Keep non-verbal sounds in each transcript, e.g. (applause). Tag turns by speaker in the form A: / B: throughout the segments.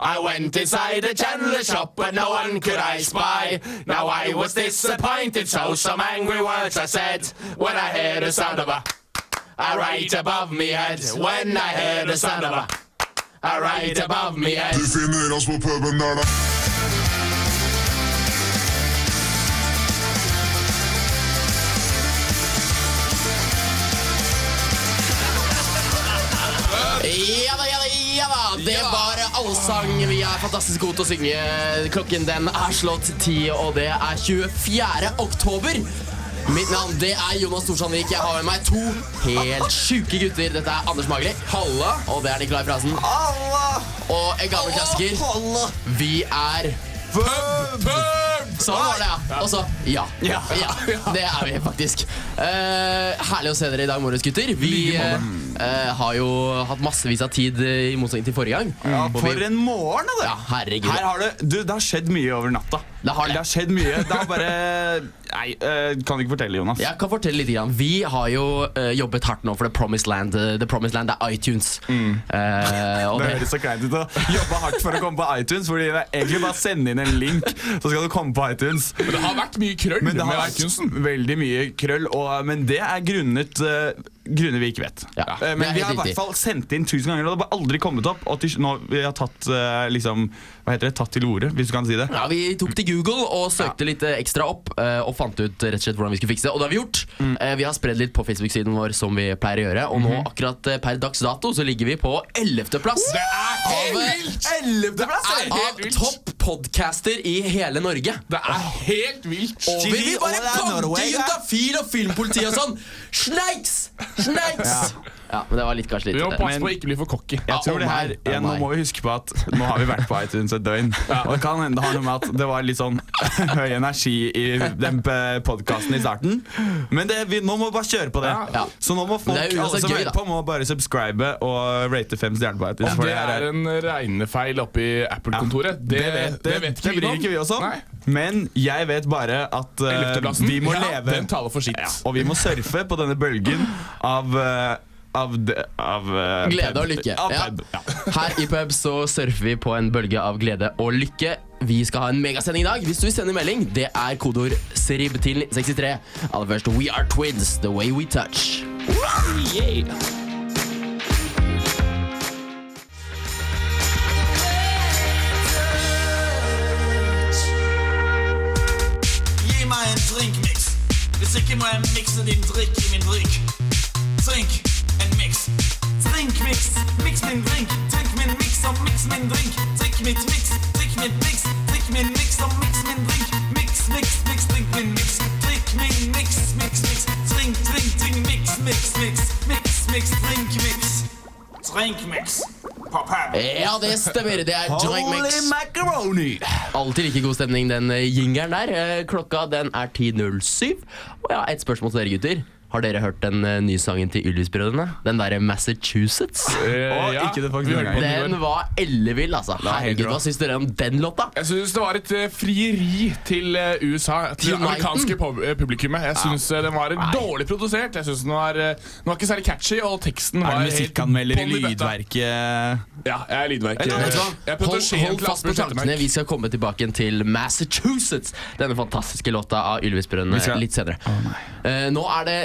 A: I went inside a chandler shop, but no one could I spy. Now I was disappointed, so some angry words I said when I heard the sound of a. I right above me head when I heard the sound of a. I right above me head.
B: Du finner oss på puben der, da.
A: Ja da, ja da, ja da! Det var allsang. Vi er fantastisk gode til å synge. Klokken den er slått ti, og det er 24. oktober. Mitt navn det er Jonas Storsandvik. Jeg har med meg to helt sjuke gutter. Dette er Anders Magli. Halla. Og det er Nicolai Frasen. Halla. Og en gammel klassiker. Halla. Vi er Sånn var det, ja. Og så ja. Ja. Det er vi faktisk. Eh, herlig å se dere i dag morges, gutter. Vi eh, har jo hatt massevis av tid eh, i motsetning til forrige gang. Hvor
C: For
A: vi,
C: en morgen, da!
A: ja,
C: det.
A: herregud.
C: Her har det, du, det har skjedd mye over natta.
A: Det har det.
C: har skjedd mye. Det har bare Nei, eh, kan ikke fortelle, Jonas.
A: Jeg kan fortelle litt. Grann. Vi har jo eh, jobbet hardt nå for The Promised Land. Eh, The Promised Land er iTunes. Eh, og
C: Mm. Det
A: det,
C: høres så kleint ut å jobbe hardt for å komme på iTunes. Fordi det er egentlig bare å sende inn en link, så skal du komme på iTunes.
D: Men det har vært mye krøll
C: Men det har
D: med iTunesen.
C: vært veldig mye krøll, og, eh, men det er grunnet eh, Grunner vi ikke vet.
A: Ja,
C: Eh,
A: det er
C: men vi
A: helt
C: har i
A: riktig.
C: hvert fall sendt inn tusen ganger, og det har bare aldri kommet opp. Og til, nå, vi har tatt, eh, liksom, hva heter det, tatt til orde, hvis du kan si det.
A: ja, vi tok til Google og søkte litt eh, ekstra opp eh, og fant ut eh, rett og slett hvordan vi skulle fikse det. Og det har vi gjort. Eh, vi har spredd litt på Facebook-siden vår, som vi pleier å gjøre. Og nå akkurat eh, per dags dato så ligger vi på 11.plass.
D: Det er helt
A: Av-
D: vilt!
C: Ellevteplass!
D: Det er helt
A: av
D: vilt.
A: topp podcaster i hele Norge.
D: Det er helt vilt.
A: Og vi vil bare
C: og det er
A: banke
C: Norway,
A: juntafil og filmpoliti og sånn. Snakes! Snakes! Ja. men det var litt kanskje
D: Vi
A: litt
D: må passe
C: Men-
D: på å ikke bli for cocky.
C: Jeg tror
A: oh
C: det
A: my,
C: her,
A: oh
C: igjen, Nå
A: my.
C: må vi huske på at nå har vi vært på iTunes et døgn. Og det kan hende det har noe med at det var litt sånn (laughs) høy energi i den podkasten i starten. Men det, vi, nå må vi bare kjøre på det.
A: Ja.
C: Så nå må folk
A: Men det er jo
C: alle
A: uansett
C: som
A: gøy,
C: hører
A: da.
C: på, må bare subscribe og rate fem stjerner på iTunes.
D: Om
C: for
D: det
C: her
D: er en regnefeil oppe i Apple-kontoret, det,
C: det vet, det,
D: det vet ikke
C: det bryr ikke vi oss om.
D: Nei.
C: Men jeg vet bare at eh,
D: Ellevteplassen,
C: vi må
D: ja,
C: leve
D: den taler for sitt.
C: Og vi må surfe på denne bølgen av eh, av, de- av eh,
A: Glede
C: pub.
A: og lykke.
C: Av
A: Ja.
C: pub, ja.
A: (laughs) Her i pub så surfer vi på en bølge av glede og lykke. Vi skal ha en megasending i dag. Hvis du vil sende melding, det er kodeord SRIB til 63. Aller først We Are Twins, The Way We Touch.
E: Gi meg en drinkmix. Hvis ikke må jeg mikse din drikk i min drink. Drink en mix. Drinkmix, mix min drink. Drikk min mix og mix min drink. Drikk mitt mix, drikk mitt mix. Drikk min mix og mix min drink. Mix, mix, mix, drikk min mix. Drikk min mix, mix, mix. Drink, drink, drink, mix, mix, mix. Mix, mix, drink, mix. Drinkmix på pub.
A: Ja, det stemmer. Det er Joint
C: Holy
A: Mix.
C: macaroni!
A: Alltid like god stemning, den eh, jingeren der. Eh, Klokka den er 10.07. Og ja, et spørsmål til dere gutter. Har dere hørt den eh, nye sangen til Ylvis-brødrene? Den derre Massachusetts?
D: Eh,
C: Å, ikke det faktisk
D: vi hørte
C: engang.
D: på den i går.
A: Den var ellevill, altså.
C: er helt
A: Herregud,
C: rå.
A: hva syns dere om den låta?
D: Jeg syns det var et eh, frieri til eh, USA, til det
A: Til
D: amerikanske pub- eh, publikummet. Jeg syns eh, den var eh, dårlig produsert. Jeg synes den var, eh, den var ikke særlig catchy, og teksten
C: Er
D: var
C: det
D: helt
C: musikkanmelder i
D: bånn bøtta.
C: lydverket?
D: Ja, jeg er lydverk.
C: Eller,
D: Jeg-
C: vet du hva?
D: Jeg prøvde å
A: Hold,
D: skje en
A: hold
D: til
A: fast på
D: Asbjørn
A: tankene.
D: Slettemark.
A: Vi skal komme tilbake til Massachusetts. Denne fantastiske låta av Ylvis-brødrene
C: skal-
A: litt senere. Eh, nå er det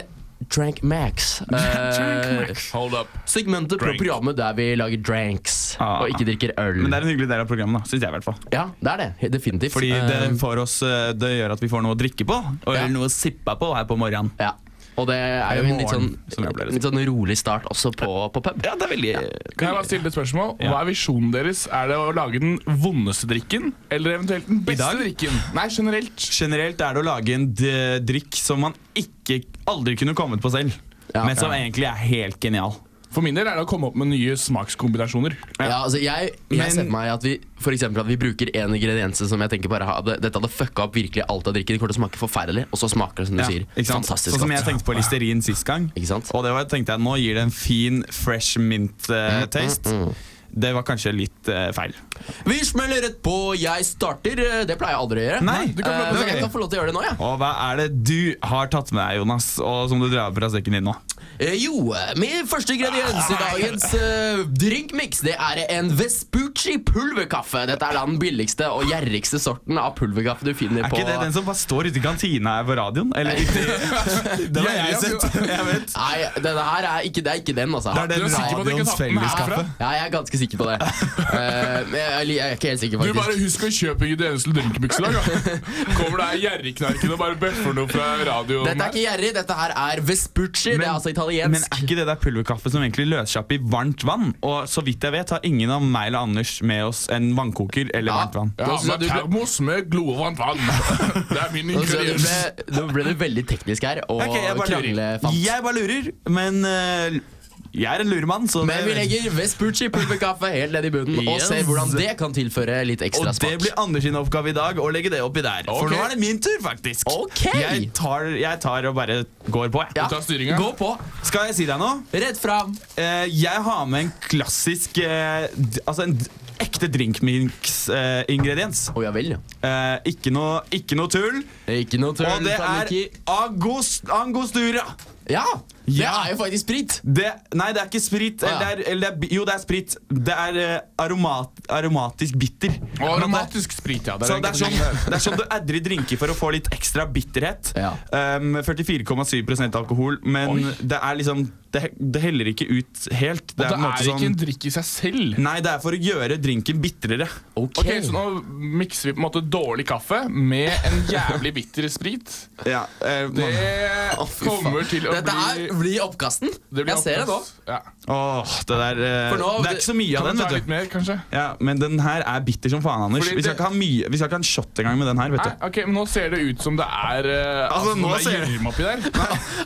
A: Drank Max.
C: (laughs)
A: Uh,
D: Hold up.
A: segmentet på
D: Drank.
A: programmet der vi lager dranks
C: Ah.
A: og ikke drikker øl.
C: Men det er en hyggelig del av programmet, da, synes jeg i hvert fall.
A: Ja, det er det. Definitivt.
C: Fordi det,
A: Eh,
C: får oss, eh, det gjør at vi får noe å drikke på, og
A: Ja.
C: noe å sippe på her på morgenen.
A: ja. Og det er jo en litt sånn,
C: morgen, som jeg pleier å si.
A: litt sånn rolig start også på, på pub.
C: Ja, det er veldig
D: Kan jeg bare stille et spørsmål? Hva er visjonen deres? Er det å lage den vondeste drikken? Eller eventuelt den beste
C: dag?
D: drikken? Nei, generelt.
C: Generelt er det å lage en d- drikk som man ikke, aldri kunne kommet på selv,
A: Ja.
C: men som egentlig er helt genial.
D: For min del er det å komme opp med nye smakskombinasjoner.
A: Ja, altså jeg, jeg
C: Men-
A: ser for meg at vi for eksempel at vi bruker en ingrediens som jeg tenker bare hadde, Dette hadde fucka opp virkelig alt av drikken. Det kommer til å smake forferdelig, og så smaker det som du
C: Ja,
A: sier.
C: ikke sant?
A: Fantastisk
C: sånn som jeg
A: godt.
C: tenkte på Listerin sist gang.
A: Ikke sant? Mm,
C: Og det var, tenkte jeg, nå gir det en fin fresh mint eh, taste. det var kanskje litt eh, feil.
A: Vi smeller rett på. Jeg starter. Eh, Det pleier jeg aldri å gjøre.
C: Nei, eh,
A: du kan få lov til, Jeg kan få lov til å gjøre det nå, ja.
C: Og hva er det du har tatt med deg, Jonas, og som du drar fra sekken din nå?
A: Eh, Jo, min første ingrediens i dagens uh, drinkmix Det er en Vespucci pulverkaffe. Dette er da den billigste og gjerrigste sorten av pulverkaffe du finner
C: Er
A: på
C: ikke det den som bare står ute i kantina her på radioen?
D: (laughs)
C: Eller ute i Den har jeg sett. Jeg vet.
A: Nei, denne her er ikke, det er ikke den, altså.
C: Det er
D: Du
C: den
D: er sikker på at du ikke
C: radioens
D: har tatt den herfra?
C: felleskaffe.
A: Ja, jeg er ganske sikker
C: (laughs)
A: på det. Eh, men jeg, jeg er ikke helt sikker,
D: Du
A: faktisk.
D: bare husk å kjøpe ingredienser til drinkmiksen i dag.
C: (laughs)
D: da. Kommer det her gjerrigknarken og bare bøffer noe fra radioen?
A: Dette er ikke gjerrig, dette her er Vespucci. det er altså italiensk.
C: Men er ikke det der pulverkaffe som egentlig løser seg opp i varmt vann? Og så vidt jeg vet, har ingen av meg eller Anders med oss en vannkoker eller varmt vann.
D: Ja,
A: Nå synes jeg
D: med
A: du ble-
D: termos med glovarmt vann. Det er min
A: Nå ble,
D: ingrediens.
A: nå ble det veldig teknisk her, og
C: Ok, jeg, bare lurer.
A: kranglefant.
C: jeg bare lurer, men eh, jeg er en luremann, så
A: Men vi legger Vespucci pulverkaffe helt ned i bunnen og
C: Yes.
A: ser hvordan det kan tilføre litt
C: Og
A: ekstra
C: det
A: smak.
C: blir Anders sin oppgave i dag å legge det oppi der. For
D: Ok.
C: nå er det min tur, faktisk.
A: Ok.
C: Jeg, tar, jeg tar og bare går på, jeg.
A: Ja.
D: Du tar styringa.
A: Gå på.
C: Skal jeg si deg noe?
A: Rett fram.
C: Eh, jeg har med en klassisk eh, d- Altså en d- ekte drinkmix-ingrediens.
A: Å ja vel.
C: Eh, ikke, noe, ikke noe tull.
A: Ikke noe tull.
C: Og det er
A: Tanuki.
C: agos, angostura.
A: Ja! Det
C: Ja.
A: er jo faktisk sprit.
C: Det, nei, det er ikke sprit.
A: Å, ja.
C: Eller, det er, eller det er, bi- jo, det er sprit. Det er eh, aromat, aromatisk bitter.
D: Og
C: Men det-
D: aromatisk sprit, ja. Det
C: Så
D: er
C: det er
D: egentlig-
C: sånn, det er sånn du adder i drinker for å få litt ekstra bitterhet.
A: Ja.
C: Um, 44,7 alkohol, men
D: Oi.
C: det er liksom det, det heller ikke ut helt. Det
D: Det
C: er, på en måte
D: er ikke
C: sånn
D: en drikk i seg selv.
A: Mm.
C: Nei, det er for å gjøre drinken bitrere.
D: Ok, Så nå mikser vi på en måte dårlig kaffe med en jævlig bitter sprit.
C: Ja, eh,
D: Det
C: man-
A: fy faen.
D: kommer til å bli
A: Dette her blir oppkasten.
D: det blir
A: Jeg ser det nå.
D: oppkast. Ja.
C: Åh, det der eh,
A: For nå-
C: Det er ikke så mye av
D: Kan
C: den,
D: du ta
C: vet
D: litt
C: du.
D: mer, kanskje?
C: Ja, men den her er bitter som faen, Anders.
D: Fordi
C: Vi skal
D: det-
C: ikke ha mye Vi skal ikke ha en shot engang med den her, vet
D: Nei,
C: du.
D: ok, men Nå ser det ut som det er eh,
C: Altså, nå
D: det
C: ser-
D: er gjørme oppi der.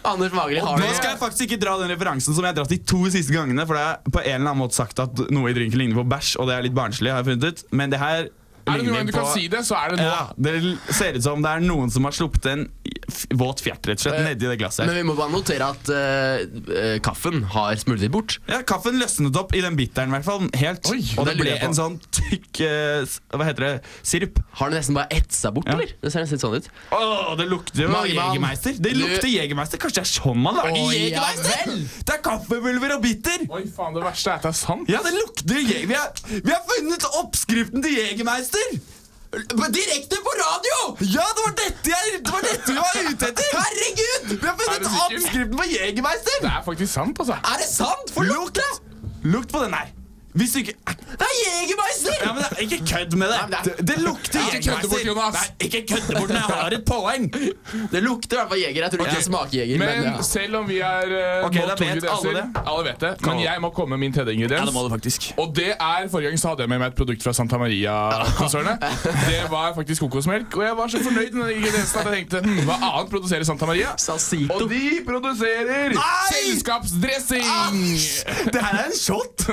A: Anders Magli har
C: Nå
A: det.
C: skal jeg faktisk ikke dra den referansen som jeg har dratt de to siste gangene. For det er på en eller annen måte sagt at noe i drinken ligner på bæsj, og det er litt barnslig. har jeg funnet ut Men det her
D: Er det noen gang
C: ligner
D: du kan
C: på
D: si det, så er det nå.
C: Ja, Det ser ut som det er noen som har sluppet en f- våt fjert rett
D: Eh,
C: og slett nedi det glasset.
A: Men vi
C: her.
A: må bare notere at eh, eh, kaffen har smuldret bort.
C: Ja, Kaffen løsnet opp i den bitteren, i hvert fall. Helt.
D: Oi,
C: og
A: det lurer
C: det ble
A: jeg på.
C: en sånn tykk eh, s- Hva heter det? Sirup.
A: Har den nesten bare etsa bort,
C: Ja.
A: eller? Det ser nesten litt sånn ut.
C: Å, det lukter jo
A: Magemann.
C: Jegermeister. Det
A: Du-
C: lukter Jegermeister. Kanskje det er sånn man
A: Å,
C: lager
A: ja
C: Jegermeister?
A: vel.
C: Det er kaffepulver og bitter!
D: Oi, faen, det verste er at det er sant.
C: Ja, det lukter Jeg- vi, har- vi har funnet oppskriften til Jegermeister!
A: Direkte på radio!
C: Ja, det var dette jeg det var dette vi var ute etter! Herregud! Vi har
D: Er du
C: funnet
D: sikker?
C: oppskriften på Jegermeister!
D: Det er faktisk sant, altså.
A: Er det sant? For lukt, da!
C: Lukt på den her. Hvis du ikke
A: Det er Jegermeister!
C: Ja, men det, Ikke kødd med det.
A: Nei, men det-
C: det, det lukter
D: Ikke kødde bort, Jonas.
C: Nei, ikke kødde bort når jeg har et poeng!
A: Det lukter i hvert fall jeger. Jeg tror ikke det smaker jeger. Men,
D: Men
A: ja.
D: selv om vi er eh,
C: Ok,
D: nå
C: da
D: to
C: vet alle
D: ingredienser
C: det.
D: Alle vet det. Men jeg må komme med min tredje ingrediens.
C: du faktisk.
D: Og det er, Forrige gang så hadde jeg med meg et produkt fra Santa
C: (laughs)
D: Maria-konsernet. Det var faktisk kokosmelk. Og jeg var så fornøyd med den ingrediensen at jeg tenkte hm, hva annet produserer Santa Maria?
A: Salsito.
D: Og de produserer
C: Nei! Ah!
D: selskapsdressing!
C: Det her er en shot!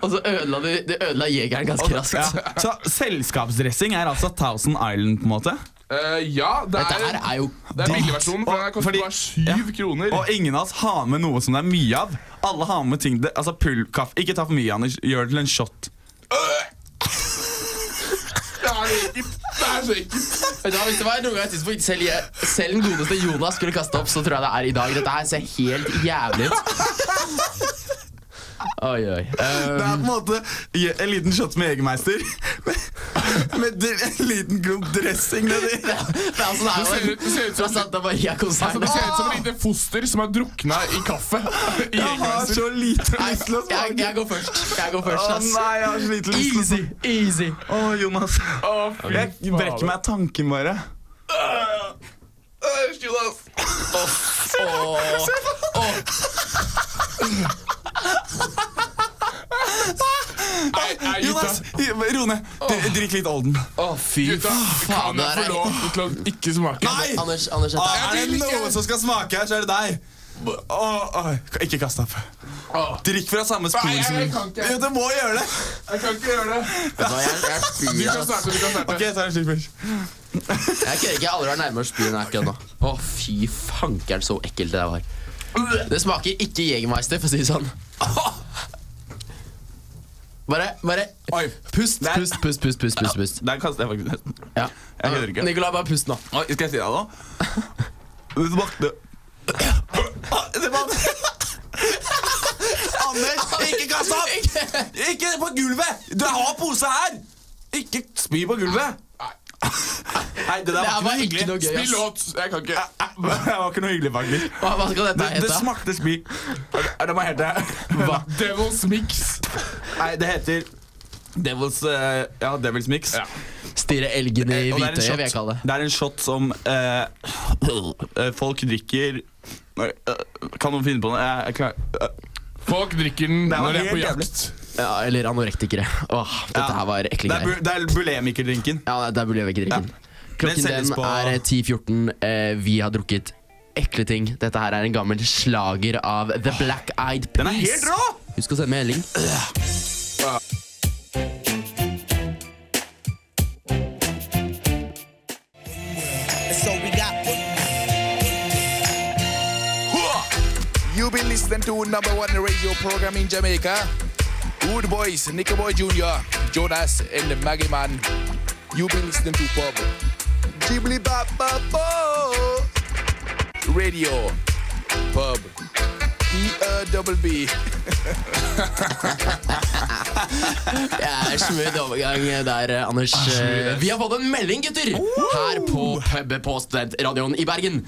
A: Og så ødela de, de ødela jegeren ganske
C: Ja.
A: raskt.
C: Så selskapsdressing er altså Thousand Island, på en måte?
D: Eh, ja, det
A: Dette her
D: er,
A: er jo
D: det er billigversjonen, for
C: Og-
D: den koster
C: fordi-
D: bare syv kroner.
C: Og ingen av oss har med noe som det er mye av. Alle har med ting det, Altså pull kaffe. Ikke ta for mye, Anders. Gjør det til en shot.
D: Det er så ekkelt. Det er så ekkelt.
A: Vet du hva, Hvis det var noen gang et tidspunkt selv, jeg, selv den godeste Jonas skulle kaste opp, så tror jeg det er i dag. Dette her ser helt jævlig ut.
D: (laughs)
A: Oi, oi. Eh,
C: Det er på en måte je- en liten shot med Jegermeister. (laughs) Med dr- en liten klump dressing nedi.
A: det er altså det
D: Det
A: her
D: ser ut- det ser ut som-
A: fra Santa
D: Altså,
A: Maria-konsernet.
D: det ser ut som et lite foster som har drukna i kaffe. I
C: Jeg har
D: engangsser.
C: så lite lyst til å
A: Jeg,
C: smake.
A: jeg går først. Jeg går
C: Å
A: først, ass.
C: nei, jeg har så lite lyst til å smake.
A: easy.
C: Å, Jonas.
D: Å, fy
C: Jeg brekker meg tanken bare.
D: faen. Jonas.
A: Åh,
D: Nei, nei,
C: Jonas,
D: gutta.
C: ro ned. Dri- Drikk litt Olden.
A: åh, fy
D: Gutta, kan
A: faen. Det
D: jeg
A: her
D: få
A: er
D: lov til å ikke smake?
C: Nei!
A: Anders, Anders, dette
C: Ah,
A: er
C: er det noe som skal smake her, så er det deg. Åh, åh, Ikke kast opp.
D: Åh.
C: Drikk fra samme spor
D: Nei, jeg-
C: som
D: jeg kan ikke.
C: Jo, Du må gjøre det. (laughs)
D: Jeg kan ikke gjøre det.
A: Vet du hva, jeg- jeg
D: Du
A: spyr,
D: kan
A: ass.
D: starte. du kan starte
C: Ok, jeg tar en slik først.
A: Jeg kødder ikke. Jeg har aldri vært nærmere å spy enn jeg er akkurat nå. Å, fy fankeren, så ekkelt det der var. Det smaker ikke Jegermeister, for å si det sånn. Bare, bare
C: Oi.
A: Pust,
C: Der.
A: pust, pust, pust, pust, pust, pust.
C: Der kaster jeg faktisk nesten.
A: Ja.
C: Jeg hører ikke.
A: Nicolai, bare pust nå.
C: Oi, skal jeg si deg noe? Du smakte Ah, det var- Anders, (laughs) ikke kast opp! Ikke på gulvet! Du har pose her! Ikke spy på gulvet! (laughs) Nei, det der
A: Det her
C: var
A: var
C: ikke
A: ikke
C: noe hyggelig.
A: noe gøy,
D: Spill
A: ass.
D: låt! Jeg kan ikke.
C: (laughs) Det var ikke noe hyggelig, faktisk.
A: (laughs) Hva, hva skal dette
C: Det, det
A: hete?
C: smakte spy. Ja, Det må hete
A: Hva?
D: Devil's Mix.
C: Nei, det heter Devils eh, Ja, Devils Mix.
D: Ja.
A: Stirre elgen i
C: Eh, Og det er en
A: hvitøyet,
C: shot-
A: vil jeg kalle det.
C: Det er en shot som eh, eh, (clears throat) folk drikker Nei, eh, Kan noen finne på noe? Jeg, jeg klarer eh,
D: Folk drikker den
C: Det var
D: når de er på
C: helt
D: jakt.
A: Ja, eller anorektikere. Åh, dette
C: Ja.
A: her var ekle
C: Det er,
A: greier.
C: bu- det er bulemikerdrinken.
A: Ja, nei, der burde jeg ikke drikke den. Klokken
C: Den selges
A: den
C: på-
A: er 10.14. Eh, vi har drukket ekle ting. Dette her er en gammel slager av The Black Eyed Peas.
C: Den er helt rå!
A: Husk å sende melding.
F: So we got
G: You been listening to number one radio program in Jamaica. Good boys, Nicky Boy Jr., Jonas, and the Maggie Man. You been listening to Bob. Ghibli Bop Bop Bo. Radio. Pub. E-R-double-B.
A: Det (laughs) er smooth overgang der, eh, Anders. Eh, Vi har fått en melding, gutter! Her på pub på Studentradioen i Bergen.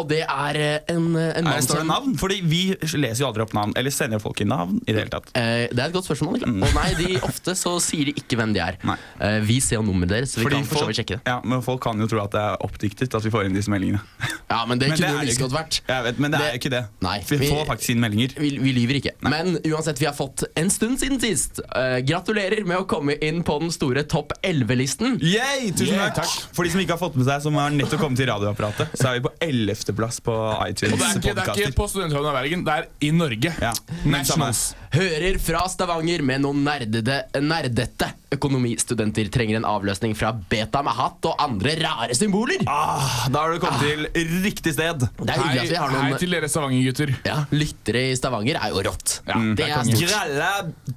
A: Og det er eh, en, en
C: Er
A: mann
C: det står det
A: som
C: navn? Fordi vi leser jo aldri opp navn. Eller sender folk inn navn i det hele tatt.
A: Eh, det er et godt spørsmål. Niklas. Og nei, de, Ofte så sier de ikke hvem de er.
C: Nei.
A: Eh, vi ser jo nummeret deres, så vi kan for så
C: folk,
A: vidt sjekke det.
C: ja, men folk kan jo tro at det er oppdiktet at vi får inn disse meldingene. (laughs)
A: Ja, Men det liksom
C: Men det
A: kunne
C: er
A: jo
C: det
A: like
C: ikke.
A: godt vært.
C: Jeg vet, Men det, er
A: Det-
C: jo ikke det.
A: Nei,
C: vi,
A: vi-
C: får faktisk inn meldinger.
A: Vi, vi lyver ikke. Men uansett, vi har fått en stund siden sist. Eh, gratulerer med å komme inn på den store topp 11-listen.
C: Yay, tusen
D: Yeah,
C: takk. For de som ikke har fått med seg, som har nettopp kommet til radioapparatet, så er vi på 11. plass på
D: Og
C: iTunes.
D: det er ikke, det er ikke på Studentradioen i Bergen, det er i Norge.
C: Ja, men samme.
D: Nationals.
A: Hører fra Stavanger med noen nerdede, nerdete økonomistudenter trenger en avløsning fra beta med hatt og andre rare symboler.
C: Ah, da har du kommet til riktig sted.
A: Det er hyggelig at
D: Hei,
A: vi har
D: hei
A: noen
D: til dere Stavanger-gutter.
A: ja, lyttere i Stavanger. er jo rått. Mm. det, er stort.
C: Grella,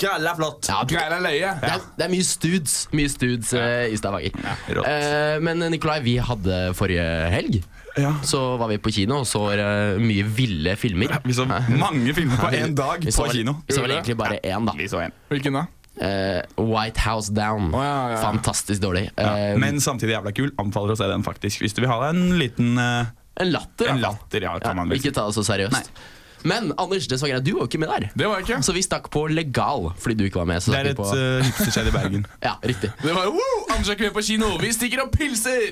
C: grella flott.
A: Ja, det,
D: Greier er leie.
A: er, det er mye studs, mye studs eh, i Stavanger.
C: rått.
A: Eh, men Nikolai, vi hadde forrige helg.
C: Ja.
A: Så var vi på kino og så eh, mye ville filmer.
C: Vi så mange filmer på én dag
A: Vi så
C: på
A: vel-
C: kino.
A: Vi så vel egentlig bare én, da.
C: så en.
D: Hvilken da?
A: Eh, White House Down.
D: ja, ja, ja.
A: Fantastisk dårlig. Eh,
C: Ja, men samtidig jævla kul. Anbefaler å se den, faktisk. Hvis du vil ha deg en liten eh,
A: en latter,
C: en
A: da.
C: latter, ja, kan man vel si.
A: ikke ta det så seriøst. Men Anders, det som var greit, du var jo ikke med der.
D: Det var jeg ikke.
A: Så vi stakk på legal fordi du ikke var med. Så
C: Det
A: stakk
C: er
A: vi
C: et
A: på...
C: uh, hipstersted i (laughs) Bergen.
A: Ja, riktig.
D: Det var woo, Anders er ikke med på kino, vi stikker opp pilser!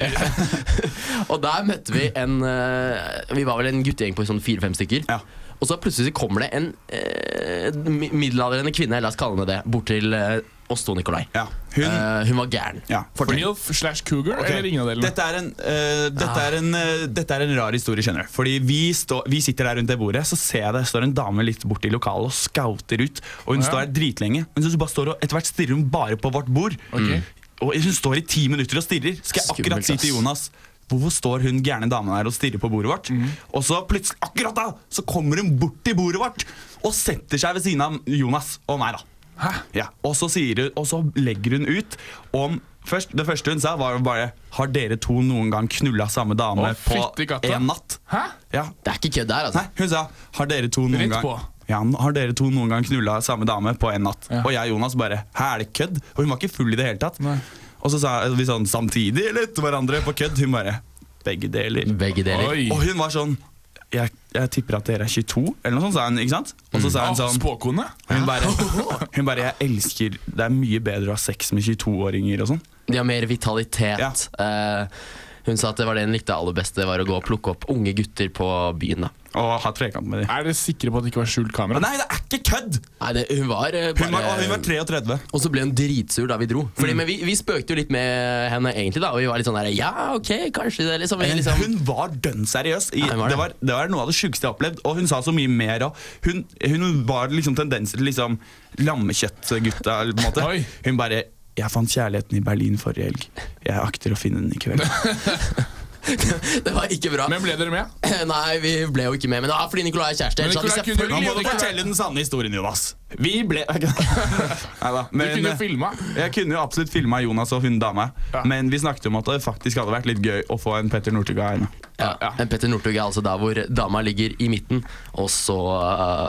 A: (laughs) Og der møtte vi en eh, Vi var vel en guttegjeng på sånn fire-fem stykker.
C: Ja.
A: Og så plutselig kommer det en eh, mi- middelaldrende kvinne, la oss kalle henne det, bort til eh, oss to, Nikolai.
C: Ja, hun
A: Eh, hun var gæren.
C: Ja,
A: Fortell.
D: Milf slash Cougar
C: Ok,
D: eller ingen av delene?
C: Dette er en, eh, dette, er en, eh, dette er en rar historie, skjønner du. Fordi vi, stå, vi sitter der rundt det bordet, så ser jeg det står en dame litt borti lokalet og scouter ut. Og hun
D: ja.
C: står der dritlenge, men så bare står og etter hvert stirrer hun bare på vårt bord. Mm.
D: Ok.
C: Og hun står i ti minutter og stirrer. Skal jeg
A: Skummelt,
C: akkurat si
A: ass.
C: til Jonas Hvorfor står hun gærne damen her og stirrer på bordet vårt?
D: Mhm.
C: Og så plutselig, akkurat da, så kommer hun bort til bordet vårt og setter seg ved siden av Jonas og meg, da.
D: Hæ?
C: Ja, og så, sier hun, og så legger hun ut om først, Det første hun sa, var jo bare Har dere to noen gang knulla samme dame
D: Å, fytti
C: på
D: katta.
C: én natt?
D: Hæ?
C: Ja.
A: Det er ikke kødd der, altså.
C: Nei, hun sa Har dere to noen
D: Rett
C: gang
D: på.
C: ja, har dere to noen gang knulla samme dame på én natt? Og jeg og Jonas bare Hæ, er det kødd? Og hun var ikke full i det hele tatt.
D: Nei.
C: Og så sa vi sånn samtidig eller til hverandre på kødd. Hun bare Begge deler.
A: Begge deler.
D: Oi.
C: Og hun var sånn jeg, jeg tipper at dere er 22, eller noe sånt, sa hun. ikke sant? Og så sa
D: Ah,
C: hun sånn
D: Spåkone?
C: hun bare, (laughs) hun bare 'Jeg elsker Det er mye bedre å ha sex med 22-åringer og sånn.
A: De har mer vitalitet. Eh, hun sa at det var det hun likte aller best, det var å gå og plukke opp unge gutter på byen. da.
C: Og ha trekant med dem.
D: Er dere sikre på at det ikke var skjult kamera?
C: Nei, det er ikke kødd!
A: Nei, det, hun var eh,
C: Hun var,
A: bare-
C: og hun var Mm. 33.
A: Og så ble hun dritsur da vi dro. Fordi, men vi, vi spøkte jo litt med henne, egentlig. da Og vi var litt sånn der Ja, OK, kanskje det liksom, vi, liksom.
C: Hun var dønn seriøs. I,
A: Ja, hun var
C: det,
A: det.
C: var, det var noe av det sjukeste jeg har opplevd. Og hun sa så mye mer. Og hun, hun var liksom tendenser til liksom lammekjøttgutta. eller på en måte.
D: Oi.
C: (laughs) Hun bare 'Jeg fant kjærligheten i Berlin forrige helg. Jeg akter å finne den i kveld'.
A: (laughs) Det var ikke bra.
D: Men ble dere med?
A: (laughs) Nei, vi ble jo ikke med. Men det var fordi Nicolai er kjæreste.
D: Men
A: ellers hadde vi
D: Nicolai kunne jo
A: selvfølgelig-
C: Nå må du
D: Nicolai-
C: fortelle den sanne historien, Jonas. Vi ble (laughs) Neida,
D: Du
C: men-
D: kunne jo filma.
C: Jeg kunne jo absolutt filma Jonas og hun dama,
D: Ja.
C: men vi snakket om at det faktisk hadde vært litt gøy å få en Petter Northug av henne.
A: Ja,
D: Ja.
A: Men Petter Northug er altså der hvor dama ligger i midten, og så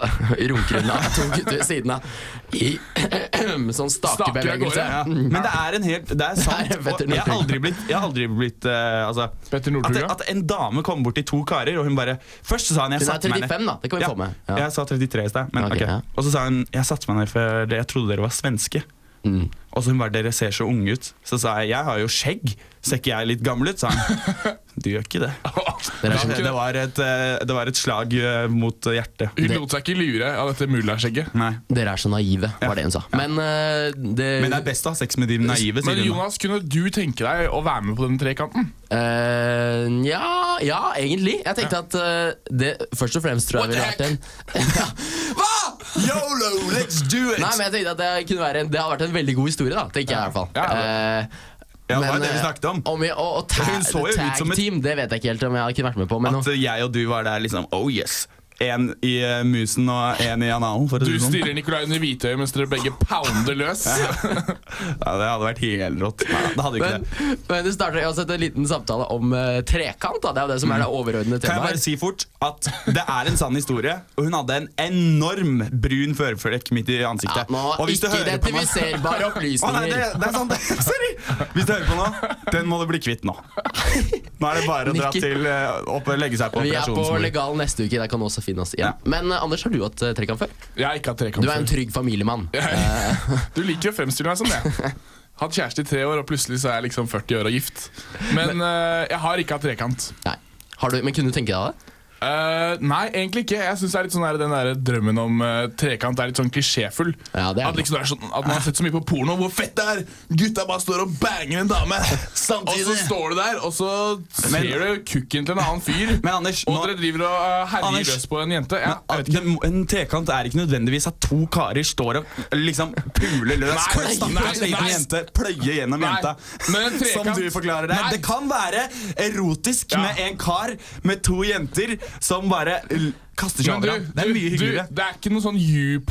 A: eh, (laughs) runker hun av to gutter ved siden av. I (clears throat) sånn
D: Staker av gårde,
A: stakebevegelse.
D: ja.
C: Men det er en helt Det er
A: (laughs)
C: sant.
A: Det er Petter
C: og jeg har
A: Northug.
C: aldri blitt, jeg har aldri blitt eh, altså,
D: Petter Northug, ja.
A: (laughs)
C: at, at en dame kommer bort til to karer, og hun bare Først så sa hun
A: Hun
C: jeg
A: er
C: satte meg ned.
A: 35, da. Det kan vi
C: ja,
A: få med. Ja.
C: Jeg sa 33 i sted. Men,
A: Ok,
C: ok.
A: ja.
C: Og så sa hun jeg satte meg ned for det, jeg trodde dere var svenske.
A: Mm.
C: Og så hun bare dere ser så unge ut. Så sa jeg jeg har jo skjegg, ser ikke jeg litt gammel ut? sa
D: (laughs)
C: hun. Du gjør ikke det.
A: er
C: Det,
A: skjønt.
C: det, var et, eh, det var et slag eh, mot hjertet.
D: Hun lot seg ikke lure av dette mullaskjegget.
C: Nei.
A: Dere er så naive, var det hun sa. Men eh, det,
C: Men det er best å ha sex med de naive,
D: Men
C: sier hun.
D: Jonas, kunne du tenke deg å være med på den trekanten?
A: Eh, ja, ja, egentlig. Jeg tenkte at eh, det først og fremst tror jeg ville
D: What
A: vært
D: the
A: en (laughs) Hva?!
C: Yolo, let's do it!
A: Nei, men jeg tenkte at det kunne være en, Det hadde vært en veldig god historie, da. Tenker jeg i hvert fall.
D: Ja,
A: Eh,
C: Ja, det var
A: men,
C: det vi
A: eh,
C: snakket om.
A: om vi, og, og ta,
C: Hun så jo ut
A: tag
C: som et-
A: team, det vet jeg ikke helt om jeg kunne vært med på. Men
C: At
A: nå-
C: eh, jeg og du var der liksom Oh yes. En i eh, musen og en i analen, for å
D: Du
C: si det sånn.
D: styrer Nicolai under hvitøyet mens dere begge pounder løs.
C: Ja, det hadde vært helt rått. Nei, det hadde jo ikke
A: Men,
C: det.
A: men det starter uansett en liten samtale om eh, trekant. Da. Det er jo det som er det overordnede
C: Mm. Kan jeg
A: temaet.
C: bare si fort at det er en sann historie, og hun hadde en enorm brun førflekk midt i
A: ja,
C: ansiktet.
A: nå,
C: og hvis du
A: Ikke
C: hører på meg
A: identifiserbare
C: (laughs) Å nei, det,
A: opplysninger.
C: det (laughs) er sant! det- Sorry! Hvis du hører på nå, den må du bli kvitt nå. Nå er det bare å dra
A: Nikki.
C: til eh, opp og legge seg på
A: Vi er på
C: operasjonsbordet.
A: legal neste uke. Der kan du også finne oss
C: Ja.
A: igjen. Men eh, Anders, har du hatt eh, trekant før?
D: Jeg har ikke hatt
A: Du er en
D: trekant før.
A: trygg familiemann.
D: Du liker jo å fremstille meg som det. Hatt kjæreste i tre år, og plutselig så er jeg liksom 40 år og gift. Men eh, jeg har ikke hatt trekant.
A: Nei. Har du, men kunne du tenke deg det?
D: Eh, nei, egentlig ikke. Jeg synes det er litt sånn der, Den der drømmen om eh, trekant er litt sånn klisjéfull.
A: Ja, det er
D: at,
A: det.
D: liksom, det er sånn, at man har sett så mye på porno. Hvor fett det er! Gutta bare står og banger en dame. Samtidig. Og så står du der, og så ser
C: Men-
D: du kukken til en annen fyr.
C: Men Anders,
D: og
C: nå-
D: dere driver og eh, herjer
C: Anders-
D: løs på en jente. Ja, jeg
C: At
D: vet ikke.
C: det- En trekant er ikke nødvendigvis at to karer står og liksom puler løs.
D: Nei, nei,
C: Stakkars
D: nei,
C: liten
D: nei.
C: jente pløye gjennom
D: Nei,
C: jenta.
D: men en trekant-
C: Som du forklarer det.
D: Nei.
C: Det kan være erotisk
D: Ja.
C: med en kar med to jenter som bare l- kaster seg
D: Men
C: over ham. Det er mye
D: du,
C: hyggeligere.
D: det er ikke noe sånn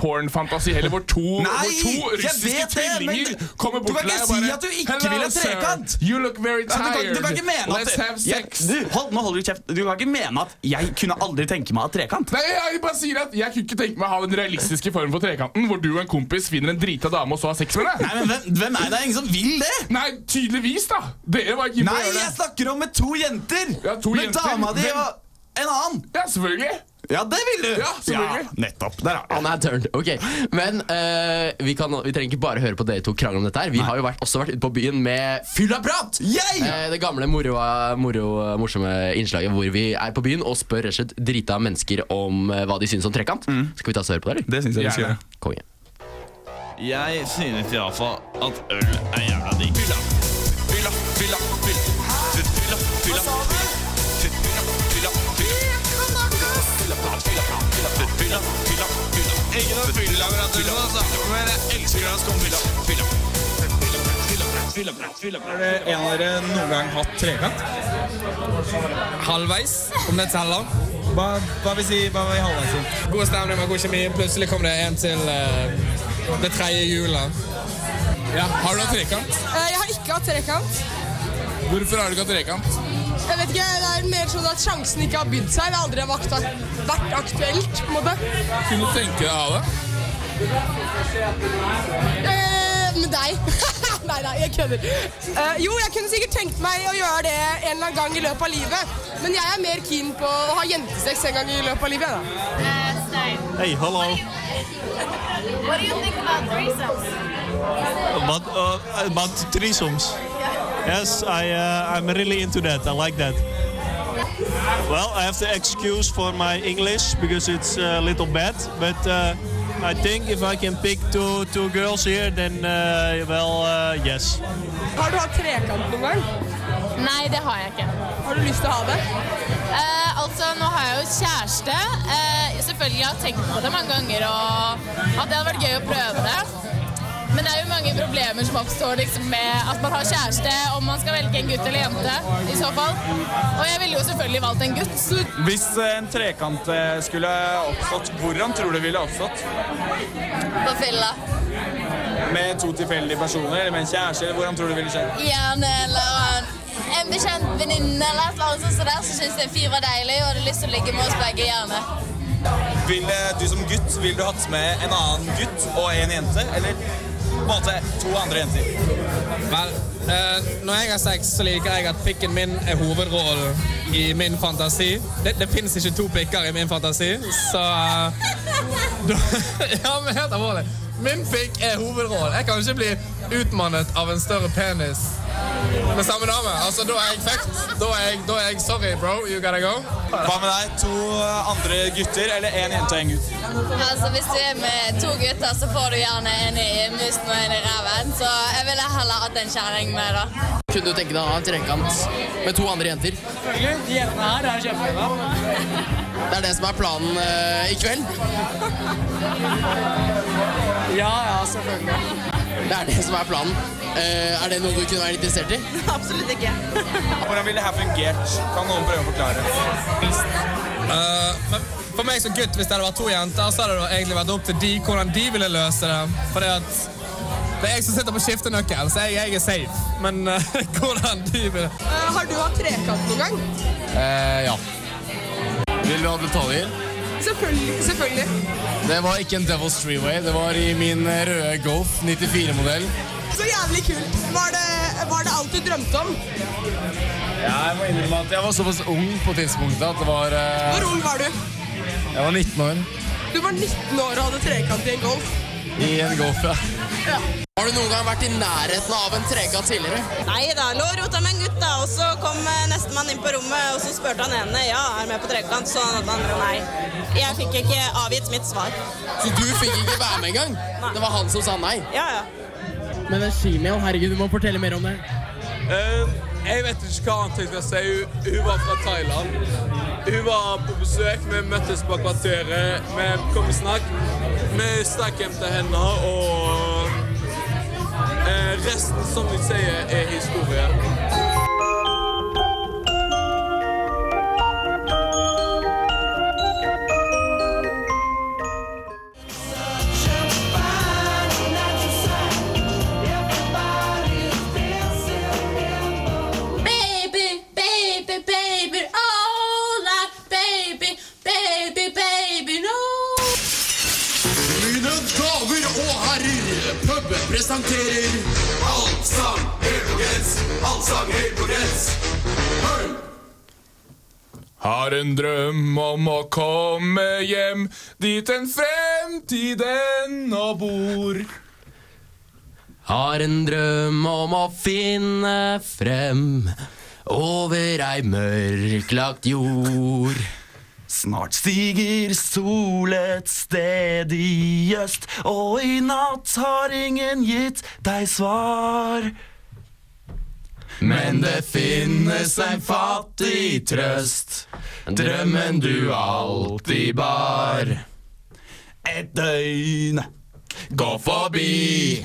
D: YouPorn-fantasi heller, hvor to,
C: Nei,
D: hvor to
C: jeg
D: russiske
C: vet det, men
D: tvillinger
C: du-
D: kommer
C: du
D: bort til
C: kan
D: deg
C: ikke
D: og bare
C: si at du ikke
D: Hello,
C: vil ha
D: sir.
C: trekant!»
D: You look very
C: Ja,
D: tired.
C: du, kan, du kan ikke mene at
D: Let's have sex.
C: Jeg, du, hold, nå holder du kjeft. Du kan ikke mene at jeg kunne aldri tenke meg å ha trekant.
D: Nei, jeg bare sier at jeg kunne ikke tenke meg å ha den realistiske formen for trekanten hvor du og en kompis finner en drita dame og så har sex med henne.
C: men hvem, hvem er det? Det er ingen som vil det!
D: Nei, tydeligvis, da! Dere var ikke inne på
C: Nei,
D: å gjøre
C: jeg
D: det.
C: snakker om med to jenter!
D: Ja, to
C: med
D: jenter.
C: dama di
D: Hvem?
C: og en annen!
D: Ja, selvfølgelig.
C: Ja, det vil du!
D: Ja, selvfølgelig.
C: nettopp. Der er
A: Han er turned, ok Men eh, vi, kan, vi trenger ikke bare høre på dere to krangle om dette her. Vi har jo vært, også vært ute på byen med fyllaprat!
C: Jeg!
A: Eh, det gamle moro, moro, morsomme innslaget hvor vi er på byen og spør rett og slett drita mennesker om eh, hva de syns om trekant. Skal vi ta oss og høre på det, eller?
C: Det syns jeg vi skal
D: Gjerne.
C: gjøre.
A: Konge.
H: Jeg synes iallfall at øl er jævla digg. Fylla, fylla, fylla, fylla. Fylla, fylla, Ikke noe fyllaprat, altså. Men jeg elsker å komme fylla. Fylla.
I: En av dere noen gang hatt trekant?
J: Halvveis, om det teller.
I: Hva, hva vil si hva vil halvveis si?
J: God stemning og god kjemi. Plutselig kom det en til eh, det tredje hjulet.
D: Ja, Har du hatt trekant?
K: Eh, Jeg har ikke hatt trekant.
D: Hvorfor har du ikke hatt trekant?
K: Jeg vet ikke, Det er mer sånn at sjansen ikke har bydd seg. Det har aldri vært, ak- vært aktuelt. på en måte.
D: Kunne du tenke deg å ha det?
K: Eh, med deg. (laughs) nei da, jeg kødder. Eh, jo, jeg kunne sikkert tenkt meg å gjøre det en eller annen gang i løpet av livet. Men jeg er mer keen på å ha jentesex en gang i løpet av livet. da.
H: Hei, hallo. But, uh, about threesomes. Yes, I, uh, I'm really into that. I like that. Well, I have the excuse for my English because it's eh, a little bad, but uh, I think if I can pick two two girls here, then uh, well, uh, yes.
K: Har du hatt trekant noen gang?
L: Nei, det har jeg ikke.
K: Har du lyst til å ha det?
L: Eh, altså, Nå har jeg jo kjæreste. Eh, selvfølgelig jeg har tenkt på det mange ganger og at det hadde vært gøy å prøve det. Men det er jo mange problemer som oppstår liksom, med at man har kjæreste, om man skal velge en gutt eller jente i så fall. Og jeg ville jo selvfølgelig valgt en gutt.
I: Hvis eh, en trekant eh, skulle oppstått, hvordan tror du ville oppstått?
M: På fylla.
I: Med to tilfeldige personer, eller med en kjæreste, eller hvordan tror du ville skjedd?
M: Gjerne eller en, en bekjent venninne eller et eller annet sånt som der som syns en fyr var deilig og hadde lyst til å ligge med oss begge. gjerne.
I: Ville eh, du som gutt, ville du hatt med en annen gutt og en jente, eller på en måte to andre jenter?
J: Vel, eh, når jeg har sex, så liker jeg at pikken min er hovedrollen i min fantasi. Det, det fins ikke to pikker i min fantasi, så eh, da- (laughs) Ja, men helt alvorlig. Min pikk er hovedrollen. Jeg kan ikke bli utmannet av en større penis med samme dame. Altså, Da er jeg fucked. Da er jeg, da er jeg sorry, bro. You gotta go.
I: Hva med deg? To andre gutter, eller en jente og en gutt?
M: Altså, Hvis du er med to gutter, så får du gjerne en i musen og en i ræven. Så jeg ville heller hatt en kjerring med, da.
A: Kunne du tenke deg å ha en trekant med to andre jenter?
I: Selvfølgelig. De jentene her er kjempebra.
A: Det er det som er planen eh, i kveld.
I: Ja, ja, selvfølgelig.
A: Det er det som er planen. Eh, er det noe du kunne være interessert i?
N: Absolutt ikke.
I: Hvordan ville det her fungert? Kan noen prøve å forklare?
J: Eh, men for meg som gutt, hvis det hadde vært to jenter, så hadde det egentlig vært opp til de hvordan de ville løse det. For det at det er jeg som sitter på skiftenøkkelen, så jeg, jeg er safe. Men eh, (laughs) hvordan de vil
K: Eh, har du hatt trekant noen gang?
J: Ja.
O: Vil Eh, du ha detaljer?
K: Selvfølgelig. selvfølgelig.
O: Det var ikke en Devil's Freeway. Det var i min eh, røde Golf 94-modell.
K: Så jævlig kult. Var det, var det alt du drømte om?
O: Jeg må innrømme at jeg var såpass ung på tidspunktet at det var eh,
K: Hvor ung var du?
O: Jeg var 19 år.
K: Du var 19 år og hadde trekant i en golf.
O: I en Golf, ja.
A: Har du noen gang vært i nærheten av en trekant tidligere?
N: Nei da, lå og rota med en gutt, da, og så kom eh, nestemann inn på rommet, og så spurte han ene ja, er du med på trekant, så han hadde andre nei. Jeg fikk ikke avgitt mitt svar.
A: Så du fikk ikke være med engang? Det var han som sa nei?
N: Ja, ja.
A: Men Shimiel, herregud, du må fortelle mer om det.
P: jeg vet ikke hva annet jeg skal si. Hun, hun var fra Thailand. Hun var på besøk. Vi møttes på kvarteret. Vi kom i snakk. Vi stakk hjem til henne, og eh, resten, som de sier, er historie.
M: Baby, baby, baby, all I baby, baby, baby, no.
A: Mine damer og herrer, puben presenterer Allsang helt på gress, allsang helt på gress.
D: Har en drøm om å komme hjem dit en fremtid ennå bor.
A: Har en drøm om å finne frem over ei mørklagt jord.
Q: Snart stiger sol et sted i øst, og i natt har ingen gitt deg svar.
A: Men det finnes en fattig trøst, drømmen du alltid bar.
Q: Et døgn
A: går forbi.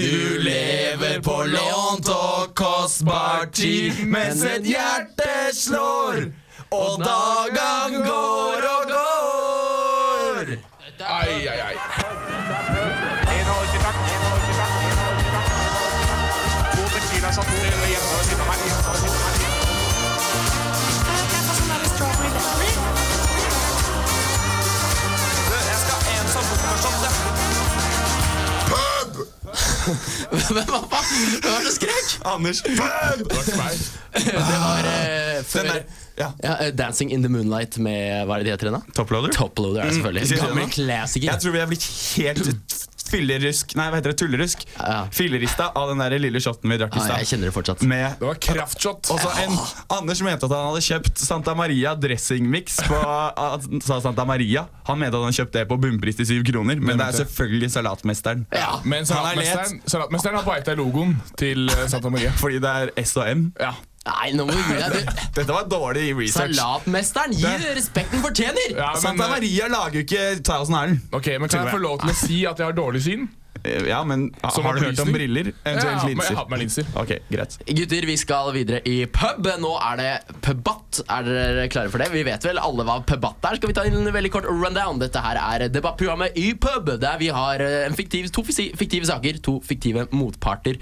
Q: Du lever på lånt og kostbar tid mens et hjerte slår, og dagen går og går.
D: Ai, ai, ai.
A: (laughs) Hvem var det? Hvem var det som skrek?
C: Anders.
A: Det var eh, før ja. eh, 'Dancing in the Moonlight' med hva er det de heter igjen? da?
C: Toploader?
A: Toploader er det
C: Mm, Sier
A: selvfølgelig.
C: du det
A: Gammel
C: nå?
A: klassiker.
C: Jeg tror vi er blitt helt fillerusk Nei, hva heter det? Tullerusk? Fillerista av den der lille shoten vi drakk i
A: Ja, jeg
C: stad.
A: kjenner det fortsatt.
C: Med
D: Det var kraftshot.
C: Også en, Anders mente at han hadde kjøpt Santa Maria dressingmix på at- sa Santa Maria. Han mente at han kjøpte det på bunnpris til syv kroner, men det er selvfølgelig Salatmesteren.
D: Men
C: Han er let.
D: salatmesteren, salatmesteren har bita logoen til eh, Santa Maria.
C: Fordi det er S og M?
D: Ja.
A: Nei, nå må du gi deg. Du-
C: (laughs) Dette var dårlig research. eh,
A: Salatmesteren, gi
C: Det-
A: respekten fortjener!
C: Santa Maria lager jo ikke Thousand Island.
D: Ok, men Kan jeg få lov til å si at jeg har dårlig syn?
C: Eh,
R: Ja, men ha-
A: Som
R: har du hørt om
A: opplysning?
R: briller? Eventuelt
A: Ja, men jeg
R: linser?
A: har på
R: med linser. Ok, greit.
A: Gutter, vi skal videre i pub. Nå er det pubatt. Er dere klare for det? Vi vet vel alle hva pubatt er. Skal vi ta en veldig kort rundown? Dette her er debattprogrammet i pub, der vi har eh, en fiktiv, to fisi- fiktive saker, to fiktive motparter.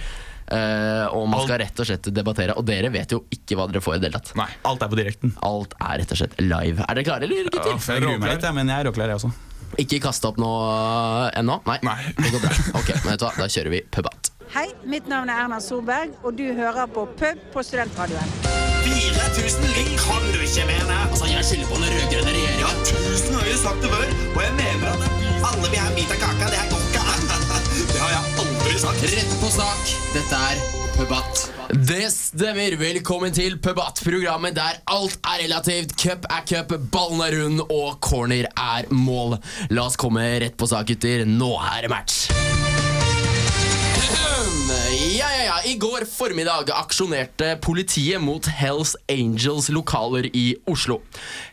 A: eh, og man skal rett og slett debattere, og dere vet jo ikke hva dere får i det hele tatt.
R: Nei, alt er på direkten.
A: Alt er rett og slett live. Er dere klare, eller,
R: Ja,
A: gutter?
R: jeg gruer meg litt, jeg, men jeg er råklar, jeg også.
A: Ikke kaste opp noe ennå? Nei. Det går bra. Ok, men vet du hva, da kjører vi pubatt.
M: Hei, mitt navn er Erna Solberg, og du hører på Pub på Studentradioen.
E: 4000 ligg kan du ikke mene! Altså, jeg skylder på den rød-grønne regjeringa. Ja, tusen ganger sagt det før, og jeg mener at alle vil ha en bit av kaka. Det her går ikke an. (laughs) Det har jeg aldri sagt.
A: Rett på sak. Dette er Pubatt. Det stemmer. Velkommen til Pubatt-programmet der alt er relativt. Cup er cup, ballen er rund, og corner er mål. La oss komme rett på sak, gutter. Nå er det match. Ja, ja, ja. I går formiddag aksjonerte politiet mot Hells Angels lokaler i Oslo.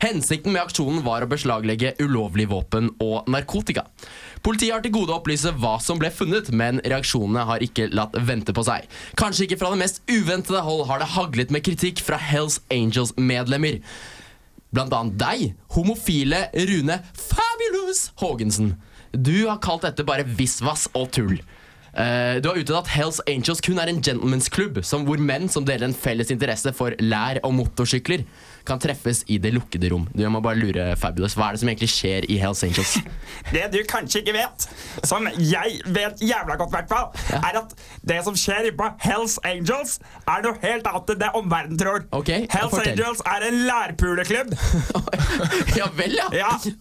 A: Hensikten med aksjonen var å beslaglegge ulovlig våpen og narkotika. Politiet har til gode å opplyse hva som ble funnet, men reaksjonene har ikke latt vente på seg. Kanskje ikke fra det mest uventede hold har det haglet med kritikk fra Hells Angels-medlemmer. Blant annet deg, homofile Rune Fabulous Haagensen. Du har kalt dette bare visvas og tull. Eh, du har uttalt at Hells Angels kun er en gentlemansklubb som- hvor menn som deler en felles interesse for lær og motorsykler, kan treffes i det lukkede rom. Du, jeg må bare lure Fabulous. Hva er det som egentlig skjer i Hells
C: (laughs)
A: Angels?
C: Det du kanskje ikke vet, som jeg vet jævla godt, hvert fall, er at det som skjer inne på Hells Angels, er noe helt annet enn det omverdenen tror. Hells
E: fortell.
C: Angels er en lærpuleklubb.
A: ja vel, ja. (laughs)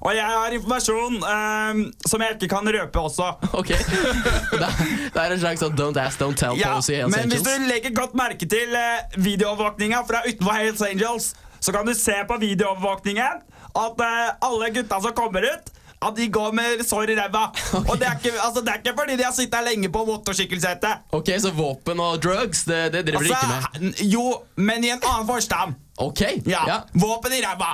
C: Og jeg har informasjon ehm, som jeg ikke kan røpe også.
A: Ok. Det er en slags sånn don't ask, don't tell
C: Ja,
A: policy i Hells
C: men hvis
A: Angels.
C: du legger godt merke til eh, videoovervåkninga fra utenfor Hells Angels, så kan du se på videoovervåkningen at eh, alle gutta som kommer ut at de går med sår i
A: (laughs)
C: ræva. Og det er, ikke, altså, det er ikke fordi de har sittet her lenge på motorsykkelsete.
A: Ok, Så våpen og drugs, det, det driver dere ikke med?
C: Altså, Jo, men i en annen forstand.
A: Ok,
C: ja. Våpen i ræva,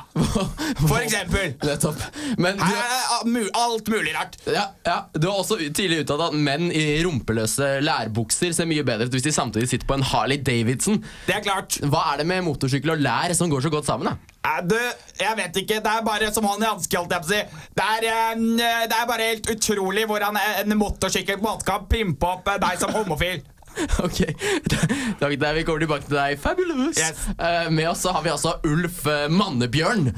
C: for eksempel.
A: Nettopp. Men du,
C: alt mulig rart.
A: Ja, ja. Du har også tidlig uttalt at menn i rumpeløse lærbukser ser mye bedre ut hvis de samtidig sitter på en Harley Davidson.
C: Det er klart.
A: Hva er det med motorsykkel og lær som går så godt sammen? da?
C: Eh, Du, jeg vet ikke. Det er bare som hånd i hanske, holdt jeg på å si. Det er, eh, det er bare helt utrolig hvordan en motorsykkel på en måte kan pimpe opp eh, deg som homofil.
A: (laughs) Ok, da, da Vi kommer tilbake til deg, Fabulous. Eh, med oss så har vi altså Ulf eh, Mannebjørn.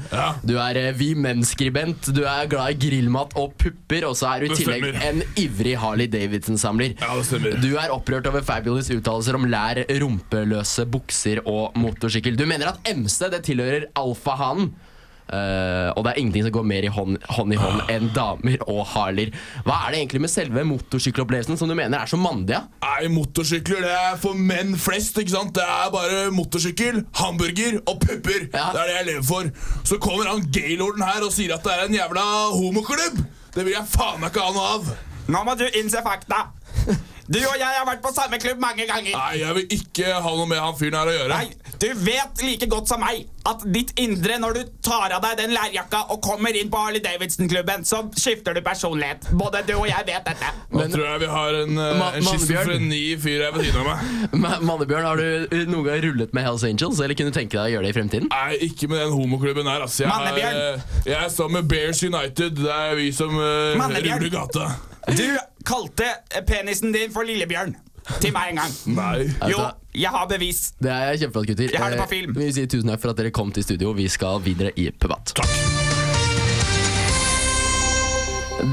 A: Du er eh, vi menn-skribent, du er glad i grillmat og pupper, og så er du i
D: Det
A: tillegg
D: stemmer.
A: en ivrig Harley Davidson-samler.
D: Ja, det stemmer.
A: Du er opprørt over Fabulous uttalelser om lær, rumpeløse bukser og motorsykkel. Du mener at MC det tilhører alfahanen. Eh, og det er ingenting som går mer i hånd, hånd i
D: Ah.
A: hånd enn damer og harler. Hva er det egentlig med selve motorsykkelopplevelsen som du mener er så mandig? Ja?
D: Nei, motorsykler det er for menn flest. ikke sant? Det er bare motorsykkel, hamburger og pupper. Det er det jeg lever for. Så kommer han gaylorden her og sier at det er en jævla homoklubb! Det vil jeg faen meg ikke ha noe av.
C: Nå må du innse fakta. Du og jeg har vært på samme klubb mange ganger.
D: Nei, jeg vil ikke ha noe med han fyren her å gjøre.
C: Nei, Du vet like godt som meg at ditt indre når du tar av deg den lærjakka og kommer inn på Harley Davidson-klubben, så skifter du personlighet. Både du og jeg vet dette.
D: Nå tror jeg vi har en, eh,
A: Ma-
D: en schizofreni fyr her ved siden av meg.
A: Ma- Mannebjørn, har du eh, noen gang rullet med Hells Angels, eller kunne du tenke deg å gjøre det i fremtiden?
D: Nei, ikke med den homoklubben her, altså. Jeg, er-
A: Mannebjørn!
D: jeg er sammen med Bears United. Det er vi som uh,
C: Mannebjørn!
D: ruller gata.
C: Du kalte penisen din for Lillebjørn til meg en gang.
D: Nei.
C: Jo, jeg har bevis.
A: Det er kjempeflott, gutter.
C: Jeg har det på
A: Eh, Vi sier tusen takk for at dere kom til studio. Vi skal videre i Pubat.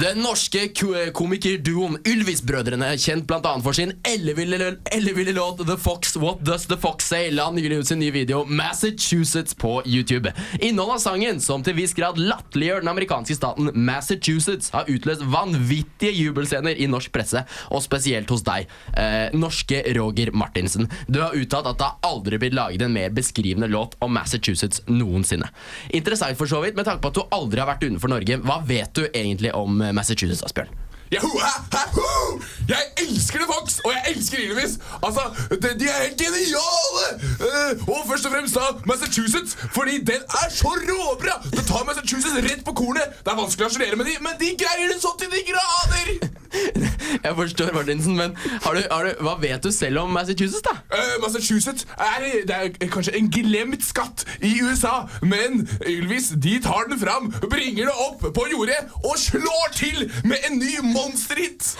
A: Den norske ko- komikerduoen Ylvis-brødrene, kjent bl.a. for sin elleville elleville låt The Fox What Does The Fox Say, la nylig ut sin nye video Massachusetts på YouTube. Innholdet av sangen, som til viss grad latterliggjør den amerikanske staten Massachusetts, har utløst vanvittige jubelscener i norsk presse, og spesielt hos deg, eh, norske Roger Martinsen. Du har uttalt at det har aldri blitt laget en mer beskrivende låt om Massachusetts noensinne. Interessant for så vidt, med tanke på at du aldri har vært utenfor Norge. Hva vet du egentlig om eh, Massachusetts, Asbjørn? (laughs)
D: Yahoo, ha, ha, ho! Jeg elsker The Fox, og jeg elsker Ylvis. Altså, de, de er helt geniale! Eh, og først og fremst da Massachusetts, fordi den er så råbra! Det tar Massachusetts rett på kornet. Det er vanskelig å harselere med de, men de greier det så til de grader!
A: Jeg forstår, Martinsen, men har du, har du, hva vet du selv om Massachusetts, da? (laughs)
D: Eh, Massachusetts er, det er eh, kanskje en glemt skatt i USA, men Ylvis de tar den fram, bringer det opp på jordet og slår til med en ny monsterhit!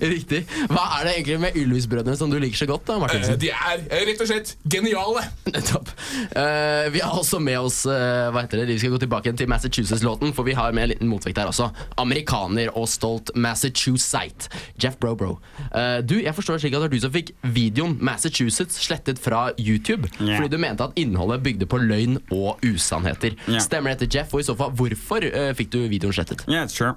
A: Riktig. Hva er det egentlig med Ylvis-brødrene som du liker så godt, da,
D: Eh,
A: Martinsen?
D: de er eh, rett og slett geniale.
A: Nettopp. Eh, vi har også med oss eh, hva heter det? Vi skal gå tilbake igjen til Massachusetts-låten, for vi har med en liten motvekt her også. Amerikaner og stolt Massachusetts. Jeff Brobro. Eh, du, jeg forstår det slik at det var du som fikk videoen Massachusetts slettet fra YouTube
C: Ja.
A: fordi du mente at innholdet bygde på løgn og usannheter.
C: Ja.
A: Stemmer dette, Jeff? Og i så fall, hvorfor eh, fikk du videoen slettet?
S: Yeah, sure.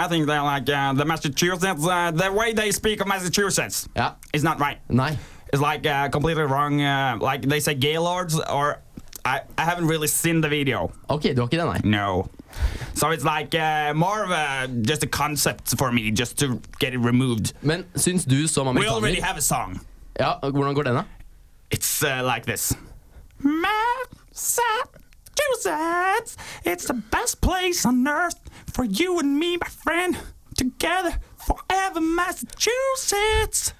S: I think they like uh, the Massachusetts. Uh, the way they speak of Massachusetts
A: yeah.
S: is not right.
A: No,
S: it's like uh, completely wrong. Uh, like they say Gaylords, or I, I haven't really seen the video.
A: Okay, do okay, then.
S: No. So it's like uh, more of a just a concept for me, just to get it removed.
A: Men syns du som
S: We
A: amerikaner-
S: already have a song.
A: Ja, og Hvordan går den, da?
S: It's uh, like this.
Q: Massachusetts, it's the best place on earth for you and me, my friend. Together forever, Massachusetts.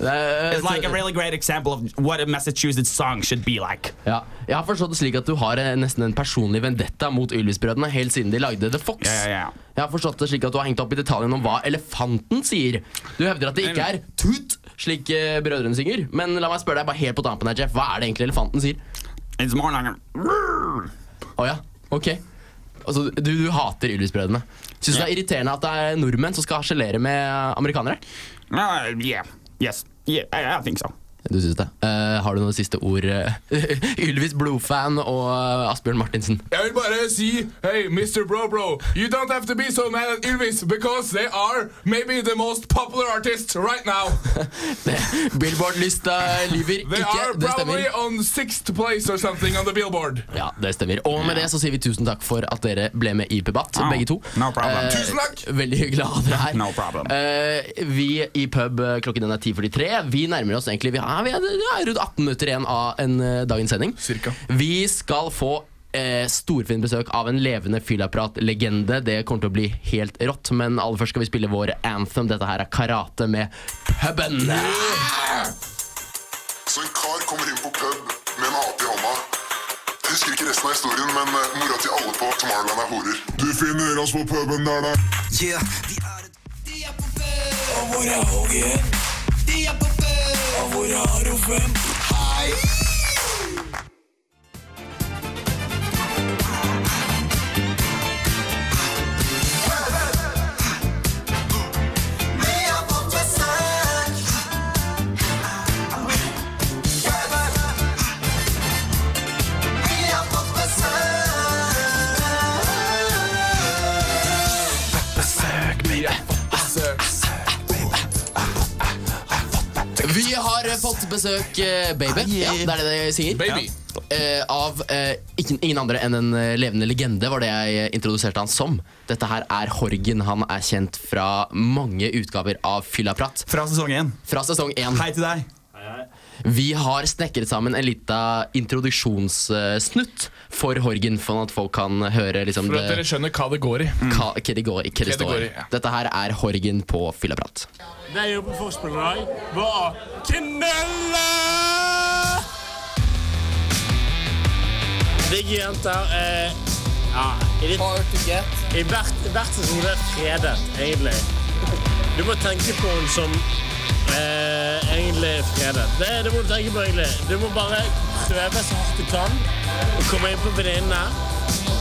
A: Eh,
S: It's like a really great example of what a Massachusetts song should be like.
A: Ja, jeg har forstått det slik at du har eh, nesten en personlig vendetta mot Ylvis-brødrene helt siden de lagde The Fox.
S: Ja, ja, ja.
A: Jeg har forstått det slik at du har hengt opp i detaljen om hva elefanten sier. Du hevder at det ikke er tut, slik eh, brødrene synger, men la meg spørre deg bare helt på tampen her, Jeff. Hva er det egentlig elefanten sier?
S: It's more like a...
A: Å ja, ok. Altså, du, du hater Ylvis-brødrene. Syns du det er irriterende at det er nordmenn som skal harselere med eh, amerikanere?
S: Uh, yeah. Yes. Yeah, I, I think so.
A: Du syns det. Eh, har du noen siste ord? eh, (laughs) Ylvis blodfan og eh, Asbjørn Martinsen.
D: Jeg vil bare si, hey, Mr. Bro Bro, you don't have to be so mad at Ylvis, because they are maybe the most popular artist right
A: (laughs)
D: now.
A: Billboard-lista lyver
D: They
A: ikke.
D: are
A: Det stemmer.
D: probably on sixth place or something on the billboard.
A: Ja, det stemmer. Og med det så sier vi tusen takk for at dere ble med i Pubat,
D: Ja,
A: begge to.
D: no problem.
A: Eh,
D: Tusen takk!
A: Veldig hyggelig å ha dere her.
D: No problem.
A: Eh, vi i pub, eh, klokken den er 10.43. Vi nærmer oss egentlig Vi har, vi er, det er rundt 18 minutter igjen av en, eh, dagens sending. Vi skal få Eh, Storfint besøk av en levende fyllapparat-legende. Det kommer til å bli helt rått. Men aller først skal vi spille vår anthem. Dette her er karate med puben.
B: Så en kar kommer inn på pub med en ape i hånda. Jeg husker ikke resten av historien, men eh, mora til alle på Tomorrowland er horer. Du finner oss på puben der, da. Yeah.
E: Og hvor er Hågen? De er på før. Og hvor er Arofen? Hei! Vi har fått besøk. Vi har fått besøk.
Q: Besøk meg.
A: Vi har eh, fått besøk, eh, baby. Ja, det er det jeg sier.
D: Baby.
A: Ja. Eh, av eh, ikke, ingen andre enn en eh, levende legende, var det jeg eh, introduserte han som. Dette her er Horgen. Han er kjent fra mange utgaver av Fyllaprat.
C: Fra sesong én.
A: Fra sesong én.
C: Hei til deg.
A: Vi har snekret sammen en lita introduksjonssnutt for Horgen, for at folk kan høre liksom,
D: For at dere skjønner hva det går i.
A: hva, hva det går i.
D: Hva det
A: Hva det
D: går
A: står.
D: i, ja.
A: Dette her er Horgen på Fyllaprat.
T: Det er jo på forspillet i dag var Knella! Digge jenter er ja, i ditt, I hvert, hvert sesong er fredet, egentlig. Du må tenke på henne som eh, egentlig er fredet. Det, det må du tenke på, egentlig. Du må bare prøve så hardt du kan å komme inn på venninnene.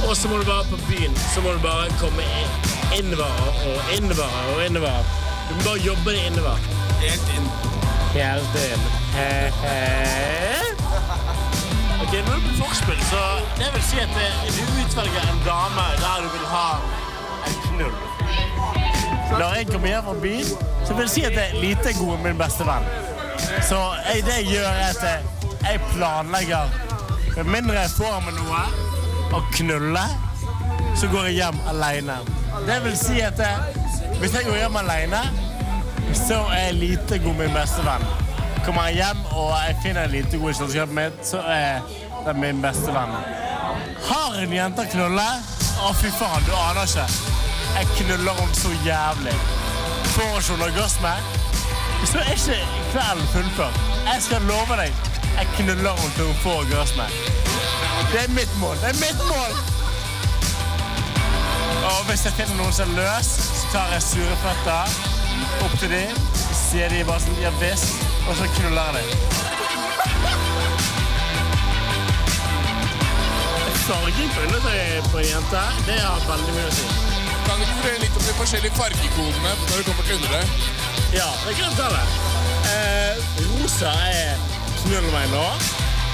T: Og så må du bare på byen. Så må du bare komme inn- innover og innover og innover. Du må bare jobbe deg innover. Helt inn. Helt inn. Ok, nå er du på forspill, så det vil si at eh, du utvelger en dame der du vil ha en knull. Når jeg kommer hjem fra byen, så vil jeg si at jeg er lite god med min beste venn. Så jeg, det jeg gjør, er at jeg, jeg planlegger Med mindre jeg får med noe å knulle, så går jeg hjem alene. Det vil si at jeg, hvis jeg går hjem alene, så er jeg lite god med min beste venn. Kommer jeg hjem og jeg finner en lite god i kjøleskapet mitt, så er det min beste venn. Har en jente å knulle? Å, fy faen, du aner ikke. Jeg knuller henne så jævlig. får ikke orgasme, så er ikke kvelden fullført. Jeg skal love deg, jeg knuller henne til hun får orgasme. Det er mitt mål. Det er mitt mål! Og hvis jeg finner noen som er løs, så tar jeg sure føtter opp til dem, sier de bare sånn ja visst, og så knuller jeg dem. Fargen på undertøyet på en jente, det har veldig mye å si.
E: Kan du ikke fortelle litt om de forskjellige fargekodene når det kommer til undertøy?
T: Ja, det kan jeg fortelle. Eh, rosa er knull meg nå.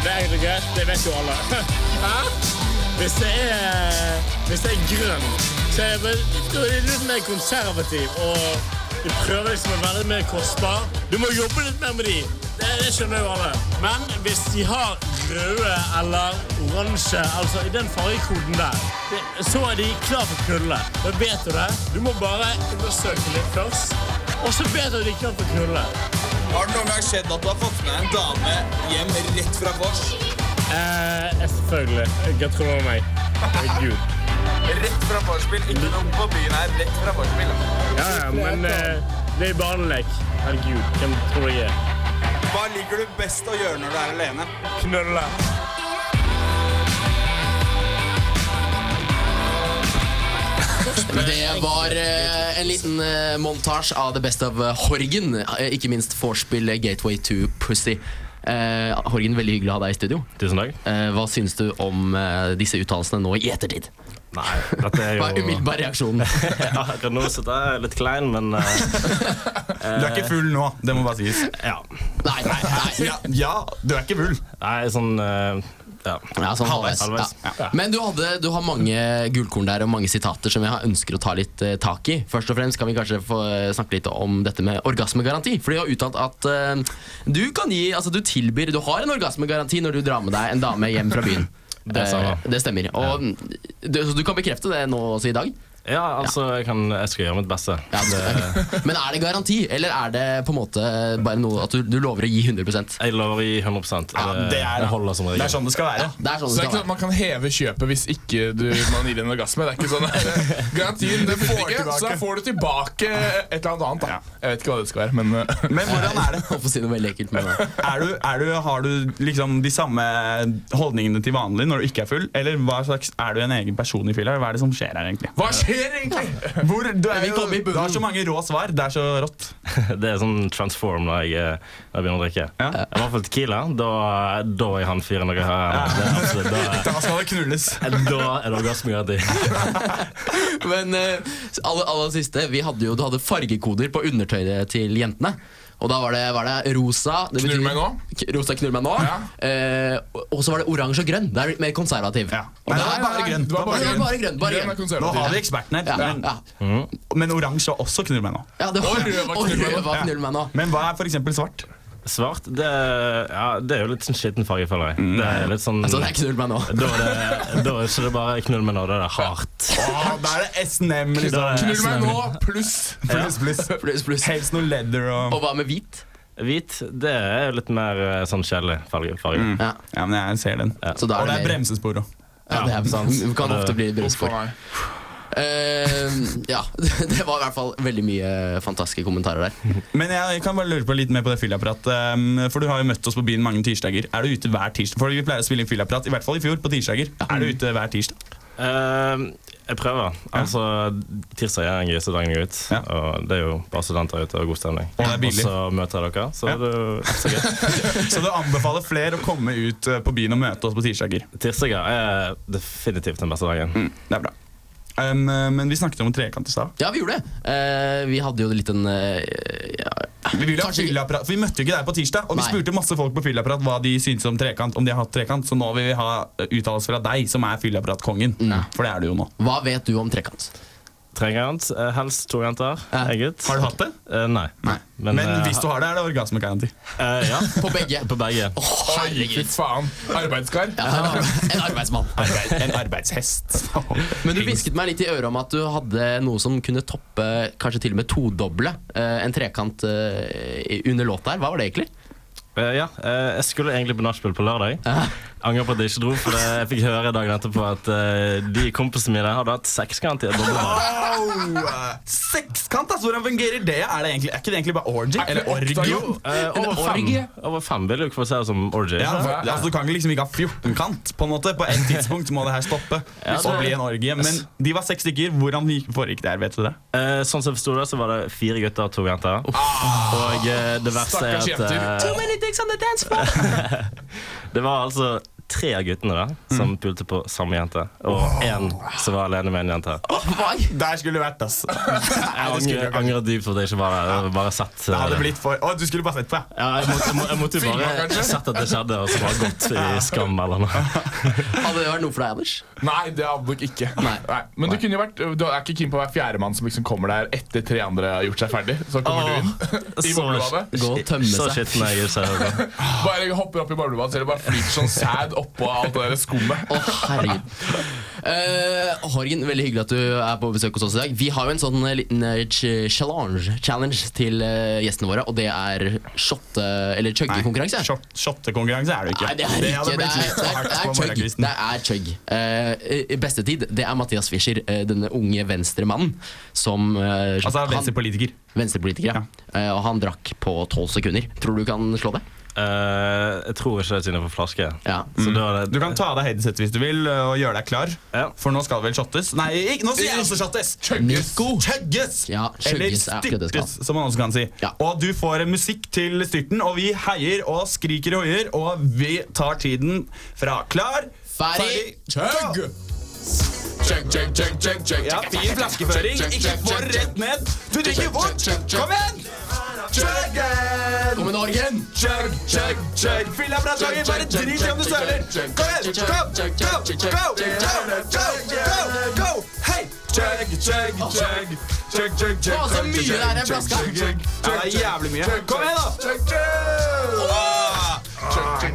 T: Det er egentlig greit, det vet jo alle. (laughs) Hæ? Hvis det er, hvis det er grønn, så er det vel- da er det litt mer konservativ. Og du prøver liksom å være litt mer kostbar. Du må jobbe litt mer med de. Det, det skjønner jo alle. Men hvis de har røde eller oransje, altså i den fargekoden der, det- så er de klar for knulle. Da vet du det. Du må bare undersøke litt først. Og så vet du at de er klar for knulle.
I: Har det noen gang skjedd at du har fått med en dame hjem rett fra vors?
T: Eh, selvfølgelig. Gratulerer med meg. Herregud.
I: Rett fra vorspiel, ikke noe på byen her. Rett fra vorspiel.
T: Ja, ja, men eh, det er barnelek. Herregud, hvem tror jeg er?
I: Hva liker du best å gjøre når du er alene?
T: Knulle.
A: Det var eh, en liten eh, montasje av The Best of eh, Horgen. Eh, ikke minst vorspiel eh, Gateway to Pussy. Eh, Horgen, veldig hyggelig å ha deg i studio.
U: Tusen takk.
A: Eh, hva syns du om eh, disse uttalelsene nå i ettertid?
U: Nei, dette er jo
A: Hva er umiddelbar reaksjon?
U: (laughs) ja, akkurat nå sitter jeg litt klein, men eh, Du
C: er ikke full nå, det må bare sies.
U: Ja.
A: Nei, nei, nei.
U: Ja, du er ikke full. Nei, sånn eh, ja.
A: Ja, sånn halvveis. Ja. Ja. Men du, hadde, du har mange gullkorn der og mange sitater som jeg har- ønsker å ta litt eh, tak i. Først og fremst kan vi kanskje få eh, snakke litt om dette med orgasmegaranti. For de har uttalt at eh, du kan gi Altså du tilbyr Du har en orgasmegaranti når du drar med deg en dame hjem fra byen.
U: (laughs) Det stemmer.
A: Eh, det stemmer. Og du, så du kan bekrefte det nå også i dag?
U: Ja, altså, Jeg, kan, jeg skal gjøre mitt beste.
A: Men er det garanti, eller er det på en måte bare noe at du, du lover å gi 100
U: Jeg lover å gi 100
A: det er-
U: holder som regel.
A: det er sånn det skal være. Ja, det er sånn det
E: så det
A: skal
E: er ikke sånn at man kan heve kjøpet hvis ikke du, man gir en orgasme. Det er ikke sånn (laughs) Garantien, det får du ikke, så da får du tilbake et eller annet annet. Da. Jeg vet ikke hva det skal være, men eh,
C: Men hvordan er det?
A: (laughs) Få si noe veldig ekkelt med det.
C: Er du, er du, har du liksom de samme holdningene til vanlig når du ikke er full? Eller hva slags, er du en egen person i fylla? eller Hva er det som skjer her, egentlig?
E: (laughs) Hva skjer egentlig?
C: Hvor, du, er
E: Vi
C: jo,
E: kommer i bunnen.
C: du har så mange rå svar. Det er så rått.
U: det er sånn transform når jeg, eh, når jeg begynner å drikke. I hvert fall Tequila. Da, da er han fyren dere har her. Det er absolutt- Da,
C: da skal det knulles.
U: Da er det orgasmegaranti.
A: Men eh, aller, aller siste, vi hadde jo, du hadde fargekoder på undertøyet til jentene. Og da var det, var det rosa det
E: Knull meg nå.
A: K- Rosa knull meg nå. Eh, og- og så var det oransje og grønn. Det er litt mer konservativ. Og det er-
C: Nei, grønn.
A: Det var bare, grønn. Bare grønn.
C: Nå har vi eksperten her.
A: Ja,
C: men,
A: ja.
C: men oransje var også knull meg nå.
A: Ja, det var- Og rød var og knull meg rød nå. var knull meg nå.
C: Men hva er for eksempel svart?
U: Svart det, er- ja, det er jo litt sånn skitten farge, føler jeg. Det er litt sånn
A: Altså, det er knull meg nå.
U: Da er det, da er ikke det bare knull meg nå, da er det hardt.
C: da er det SNM,
U: Da er
C: liksom.
U: det Knull meg nå,
E: pluss.
C: Pluss, pluss. Helst noe leather og
A: Og hva med hvit?
U: Hvit det er jo litt mer eh, sånn kjedelig farge. farge.
A: Ja.
C: men jeg ser den.
A: Så da er
C: Og
A: det
C: det er
A: mer-
C: bremsespor òg.
A: Ja, det er sant. Det kan ofte bli bremsespor. Eh, ja, (laughs) det var i hvert fall veldig mye fantastiske kommentarer
U: Mhm.
A: der.
C: Men jeg kan bare lure på litt mer på det fyllapparat. ehm, For du har jo møtt oss på byen mange tirsdager. Er du ute hver tirsdag? For vi pleier å spille inn fyllapparat, i hvert fall i fjor, på tirsdager. Er du ute hver tirsdag?
U: Eh, jeg prøver. Altså, Tirsdag er den gøyeste dagen jeg er ute. Og det er jo bare studenter ute og god stemning.
C: Og det er billig.
U: så møter jeg dere, så
C: Ja.
U: det er jo så gøy.
C: (laughs) Så du anbefaler flere å komme ut eh, på byen og møte oss på tirsdager?
U: Tirsdager er definitivt den beste dagen.
C: det er bra. Ehm, men vi snakket om en trekant i stad.
A: Ja, vi gjorde det. Eh, vi hadde jo litt en eh, ja,
C: Vi, ville ha fyllapparat, for vi møtte jo ikke deg på tirsdag, og vi
A: Nei.
C: spurte masse folk på fyllapparat hva de syntes om trekant. om de har hatt trekant, Så nå vil vi ha eh, uttalelse fra deg, som er fyllapparatkongen. For det er du jo nå.
A: Hva vet du om trekant?
U: Trekant, eh, helst to jenter. En gutt.
C: Har du hatt det?
U: Eh, nei.
C: Men, hvis du
U: har
C: har det, er det orgasmegaranti.
U: ja.
A: På begge.
U: (laughs) På begge.
E: Oi, fy faen. Arbeidskar.
A: en arbeidsmann.
C: en arbeidshest.
A: Men du hvisket meg litt i øret om at du hadde noe som kunne toppe, kanskje til og med todoble, eh, en trekant eh, under låt der. Hva var det egentlig?
U: Eh, ja, eh, jeg skulle egentlig på nachspiel på lørdag. angrer på at jeg ikke dro, for det, jeg fikk høre dagen etterpå at eh, de kompisene mine hadde hatt sekskant i et
C: (laughs)
U: dobbeltrom.
C: Wow! Sekskant, altså! Hvordan fungerer det? Er, det egentlig, er ikke det egentlig bare orgy? Eller orgio?
U: Eh, over,
E: (laughs)
U: fem, over fem vil jo kvalifisere som orgy.
C: Ja, for, altså, du kan liksom ikke ha 14-kant. på en måte På et tidspunkt må det her stoppe.
U: Ja, det-
C: og bli en orgie Men de var seks stykker. Hvordan gikk- foregikk det her? vet du det?
U: Eh, sånn som jeg forsto det, så var det fire gutter og to jenter. og eh, det verste er
C: Stakkars
U: at eh,
Q: Too many dicks on the dance floor.
U: (laughs) det var altså tre av guttene da, som pulte på samme jente. Og én som var alene med en jente.
C: Der skulle du vært, ass.
U: Jeg
C: Nei, det skulle du
U: angrer,
C: ikke.
U: angrer dypt for at jeg ikke var der. Jeg hadde bare sett
C: Det hadde
U: eh,
C: blitt for Å, du skulle bare sett på,
U: ja. jeg måtte- jeg må- jeg måtte jo bare sett at det skjedde, og så bare gått i skam eller noe.
A: Hadde det vært noe for deg, Anders?
D: Nei, det hadde nok ikke. Nei. Men du kunne jo vært Du er ikke keen på å være fjerdemann som liksom kommer der etter tre andre har gjort seg ferdig. Så kommer du
E: (laughs)
D: inn i
U: så-
D: boblebadet.
U: gå og tømme Så seg. altså. skitten er jeg, så er det
D: Bare hopper opp i boblebadet, så det bare flyter sånn sæd oppå alt det der skummet.
A: herregud. Eh, Horgen, veldig hyggelig at du er på besøk hos oss i dag. Vi har jo en sånn eh, liten eh, ch- challenge, challenge til eh, gjestene våre, og det er shotte- eller chuggekonkurranse.
C: Shottekonkurranse er det ikke.
A: Nei, det er det ikke.
C: hadde
A: Det
C: blitt
A: er,
C: litt
A: det
C: for
A: er,
C: hardt
A: det
C: på
A: er chug.
C: morgenkvisten.
A: Det er chug. Eh, i beste tid, det er Mathias Fischer, eh, denne unge venstremannen som eh,
C: Altså,
A: han-
C: venstrepolitiker.
A: Venstrepolitiker, ja. Eh, og han drakk på tolv sekunder. Tror du du kan slå det?
U: Eh, jeg tror ikke det er siden jeg får flaske. Så
C: Mm.
U: da er det
C: Du kan ta av deg headsetet hvis du vil, øh, og gjøre deg klar. For nå skal det vel shottes. Nei, ikke, nå sier jeg også shottes! Chugges! Chugges. Eller
A: chugges er akkurat det det
C: styrtes, som man også kan si. Og du får musikk til styrten, og vi heier og skriker og hoier, og vi tar tiden fra klar
A: Ferdig,
C: chugg!
D: Check, check, check, check, check.
C: Ja, fin flaskeføring. Ikke for rett ned. Du drikker fort! Kom igjen! Chuggen!
A: Kom igjen, Orgen!
C: Chug, chug, chug. Fyll deg fra slaget, bare drit i om du søler. Kom igjen, kom, go, go, go, go, go, go. Hei! Chug, chug, chug. Chug, chug, chug.
Q: Å, så mye det er i den flaska.
C: Ja, det er jævlig mye. Kom igjen, da! Ah,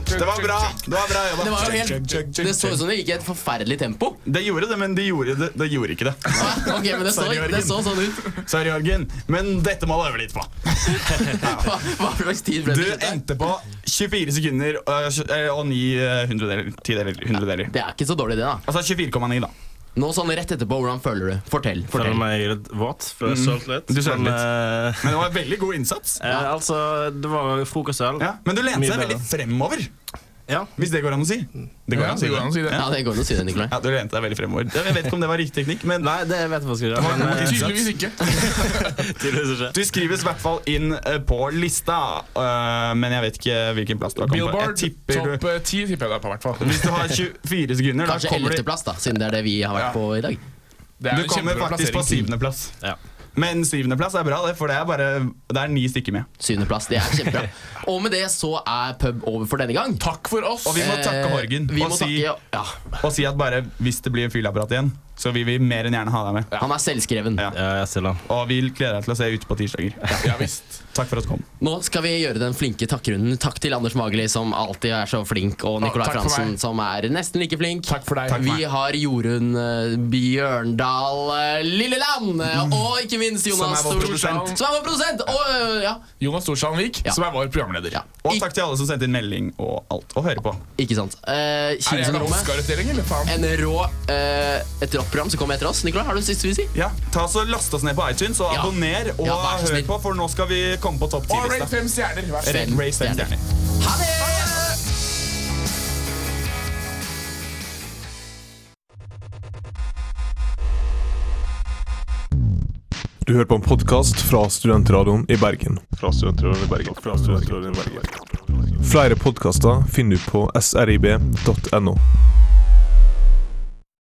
C: Det var bra. Det var bra jobba.
A: Det, var jo helt, det så ut som det gikk i et forferdelig tempo.
C: Det gjorde det, men det gjorde, det, det gjorde ikke det.
A: (laughs) Ok, men det så,
C: Sorry, Jørgen.
A: det så sånn ut.
C: Sorry, Jørgen, men dette må du øve litt på.
A: Hva, hva slags tid ble
C: Du
A: det?
C: endte på 24 sekunder øh, tj- eh, og 9 hundredeler. 10 deler, hundredeler.
A: Det er ikke så dårlig, det, da.
C: Altså 24,9, da.
A: Nå sånn rett etterpå, hvordan føler du? Fortell.
U: Føler
A: fortell.
U: meg litt våt, for jeg
A: Mm.
U: sølte litt.
A: Du sølte litt.
C: Men det var veldig god innsats.
U: Eh, altså, det var frokostøl.
C: Men du lente
U: Mye
C: deg
U: bedre.
C: veldig fremover.
U: Ja.
C: Hvis det går an å si. Det
U: Ja,
C: går an å si
U: det går an å si det.
A: Ja, det går an å si det, Nikolai.
C: Ja, du lente deg veldig fremover. Jeg vet ikke om det var riktig teknikk, men
U: Nei, det vet jeg faktisk ikke. men, eh,
D: ikke.
U: tydeligvis ikke.
C: Du skrives i hvert fall inn eh, på lista, eh, men jeg vet ikke hvilken plass du har kommet på.
D: Billboard
C: Jeg tipper
D: topp eh, 10 tipper jeg deg på, i hvert fall.
C: Hvis du har 24 sekunder, da
A: Kanskje
C: kommer de-
A: ellevteplass, da, siden det er det vi har vært
C: Ja.
A: på i dag.
D: Det er
C: Du
D: en
C: kommer
D: kjempebra
C: faktisk på
D: plassering.
C: syvendeplass. Men syvendeplass er bra, det, for det er bare Det er ni stykker med.
A: Syvendeplass, det er kjempebra.
C: (laughs)
A: Og med det så er pub over for denne gang. Eh,
D: Takk for oss.
C: Og vi må takke Horgen
A: Vi
C: og,
A: må
C: si,
A: takke, ja.
C: og si at bare hvis det blir fyllapparat igjen, så vil vi mer enn gjerne ha deg med.
A: Han er selvskreven.
C: Og vi gleder deg til å se ute på tirsdager. Takk for at du kom.
A: Nå skal vi gjøre den flinke takkrunden. Takk til Anders Mageli, som alltid er så flink, og Nicolai
C: takk for
A: Fransen,
C: meg.
A: som er nesten like flink. Takk
D: for deg.
A: vi har Jorunn eh, Bjørndal eh, Lilleland, eh, og ikke minst Jonas
D: Mm. Som er vår
A: Storsand,
D: produsent.
A: som er vår produsent. Og, eh, ja.
D: Jonas Storsand Vik, som er vår programleder.
C: Og takk til alle som sendte inn melding og alt. Og hører på.
A: Ikke sant. Eh,
D: Er det en
A: Kinesen-rommet.
D: Oscar-utdeling, eller faen?
A: En rå eh, et rått program som kommer etter oss. Nicolai, har du det siste vi sier?
C: Ja, ta så Last oss ned på iTunes og
A: Ja.
C: abonner og
A: Ja, vær så
C: hør
A: snill.
C: på, for nå skal vi komme på topp
D: Og rate
C: ti-lista.
D: fem stjerner. Vær så
C: Rate
D: snill.
C: rate fem stjerner.
F: Du hører på en podkast fra Studentradioen i Bergen.
V: Fra Studentradioen i Bergen. Fra Studentradioen i Bergen.
F: Flere podkaster finner du på srib.no.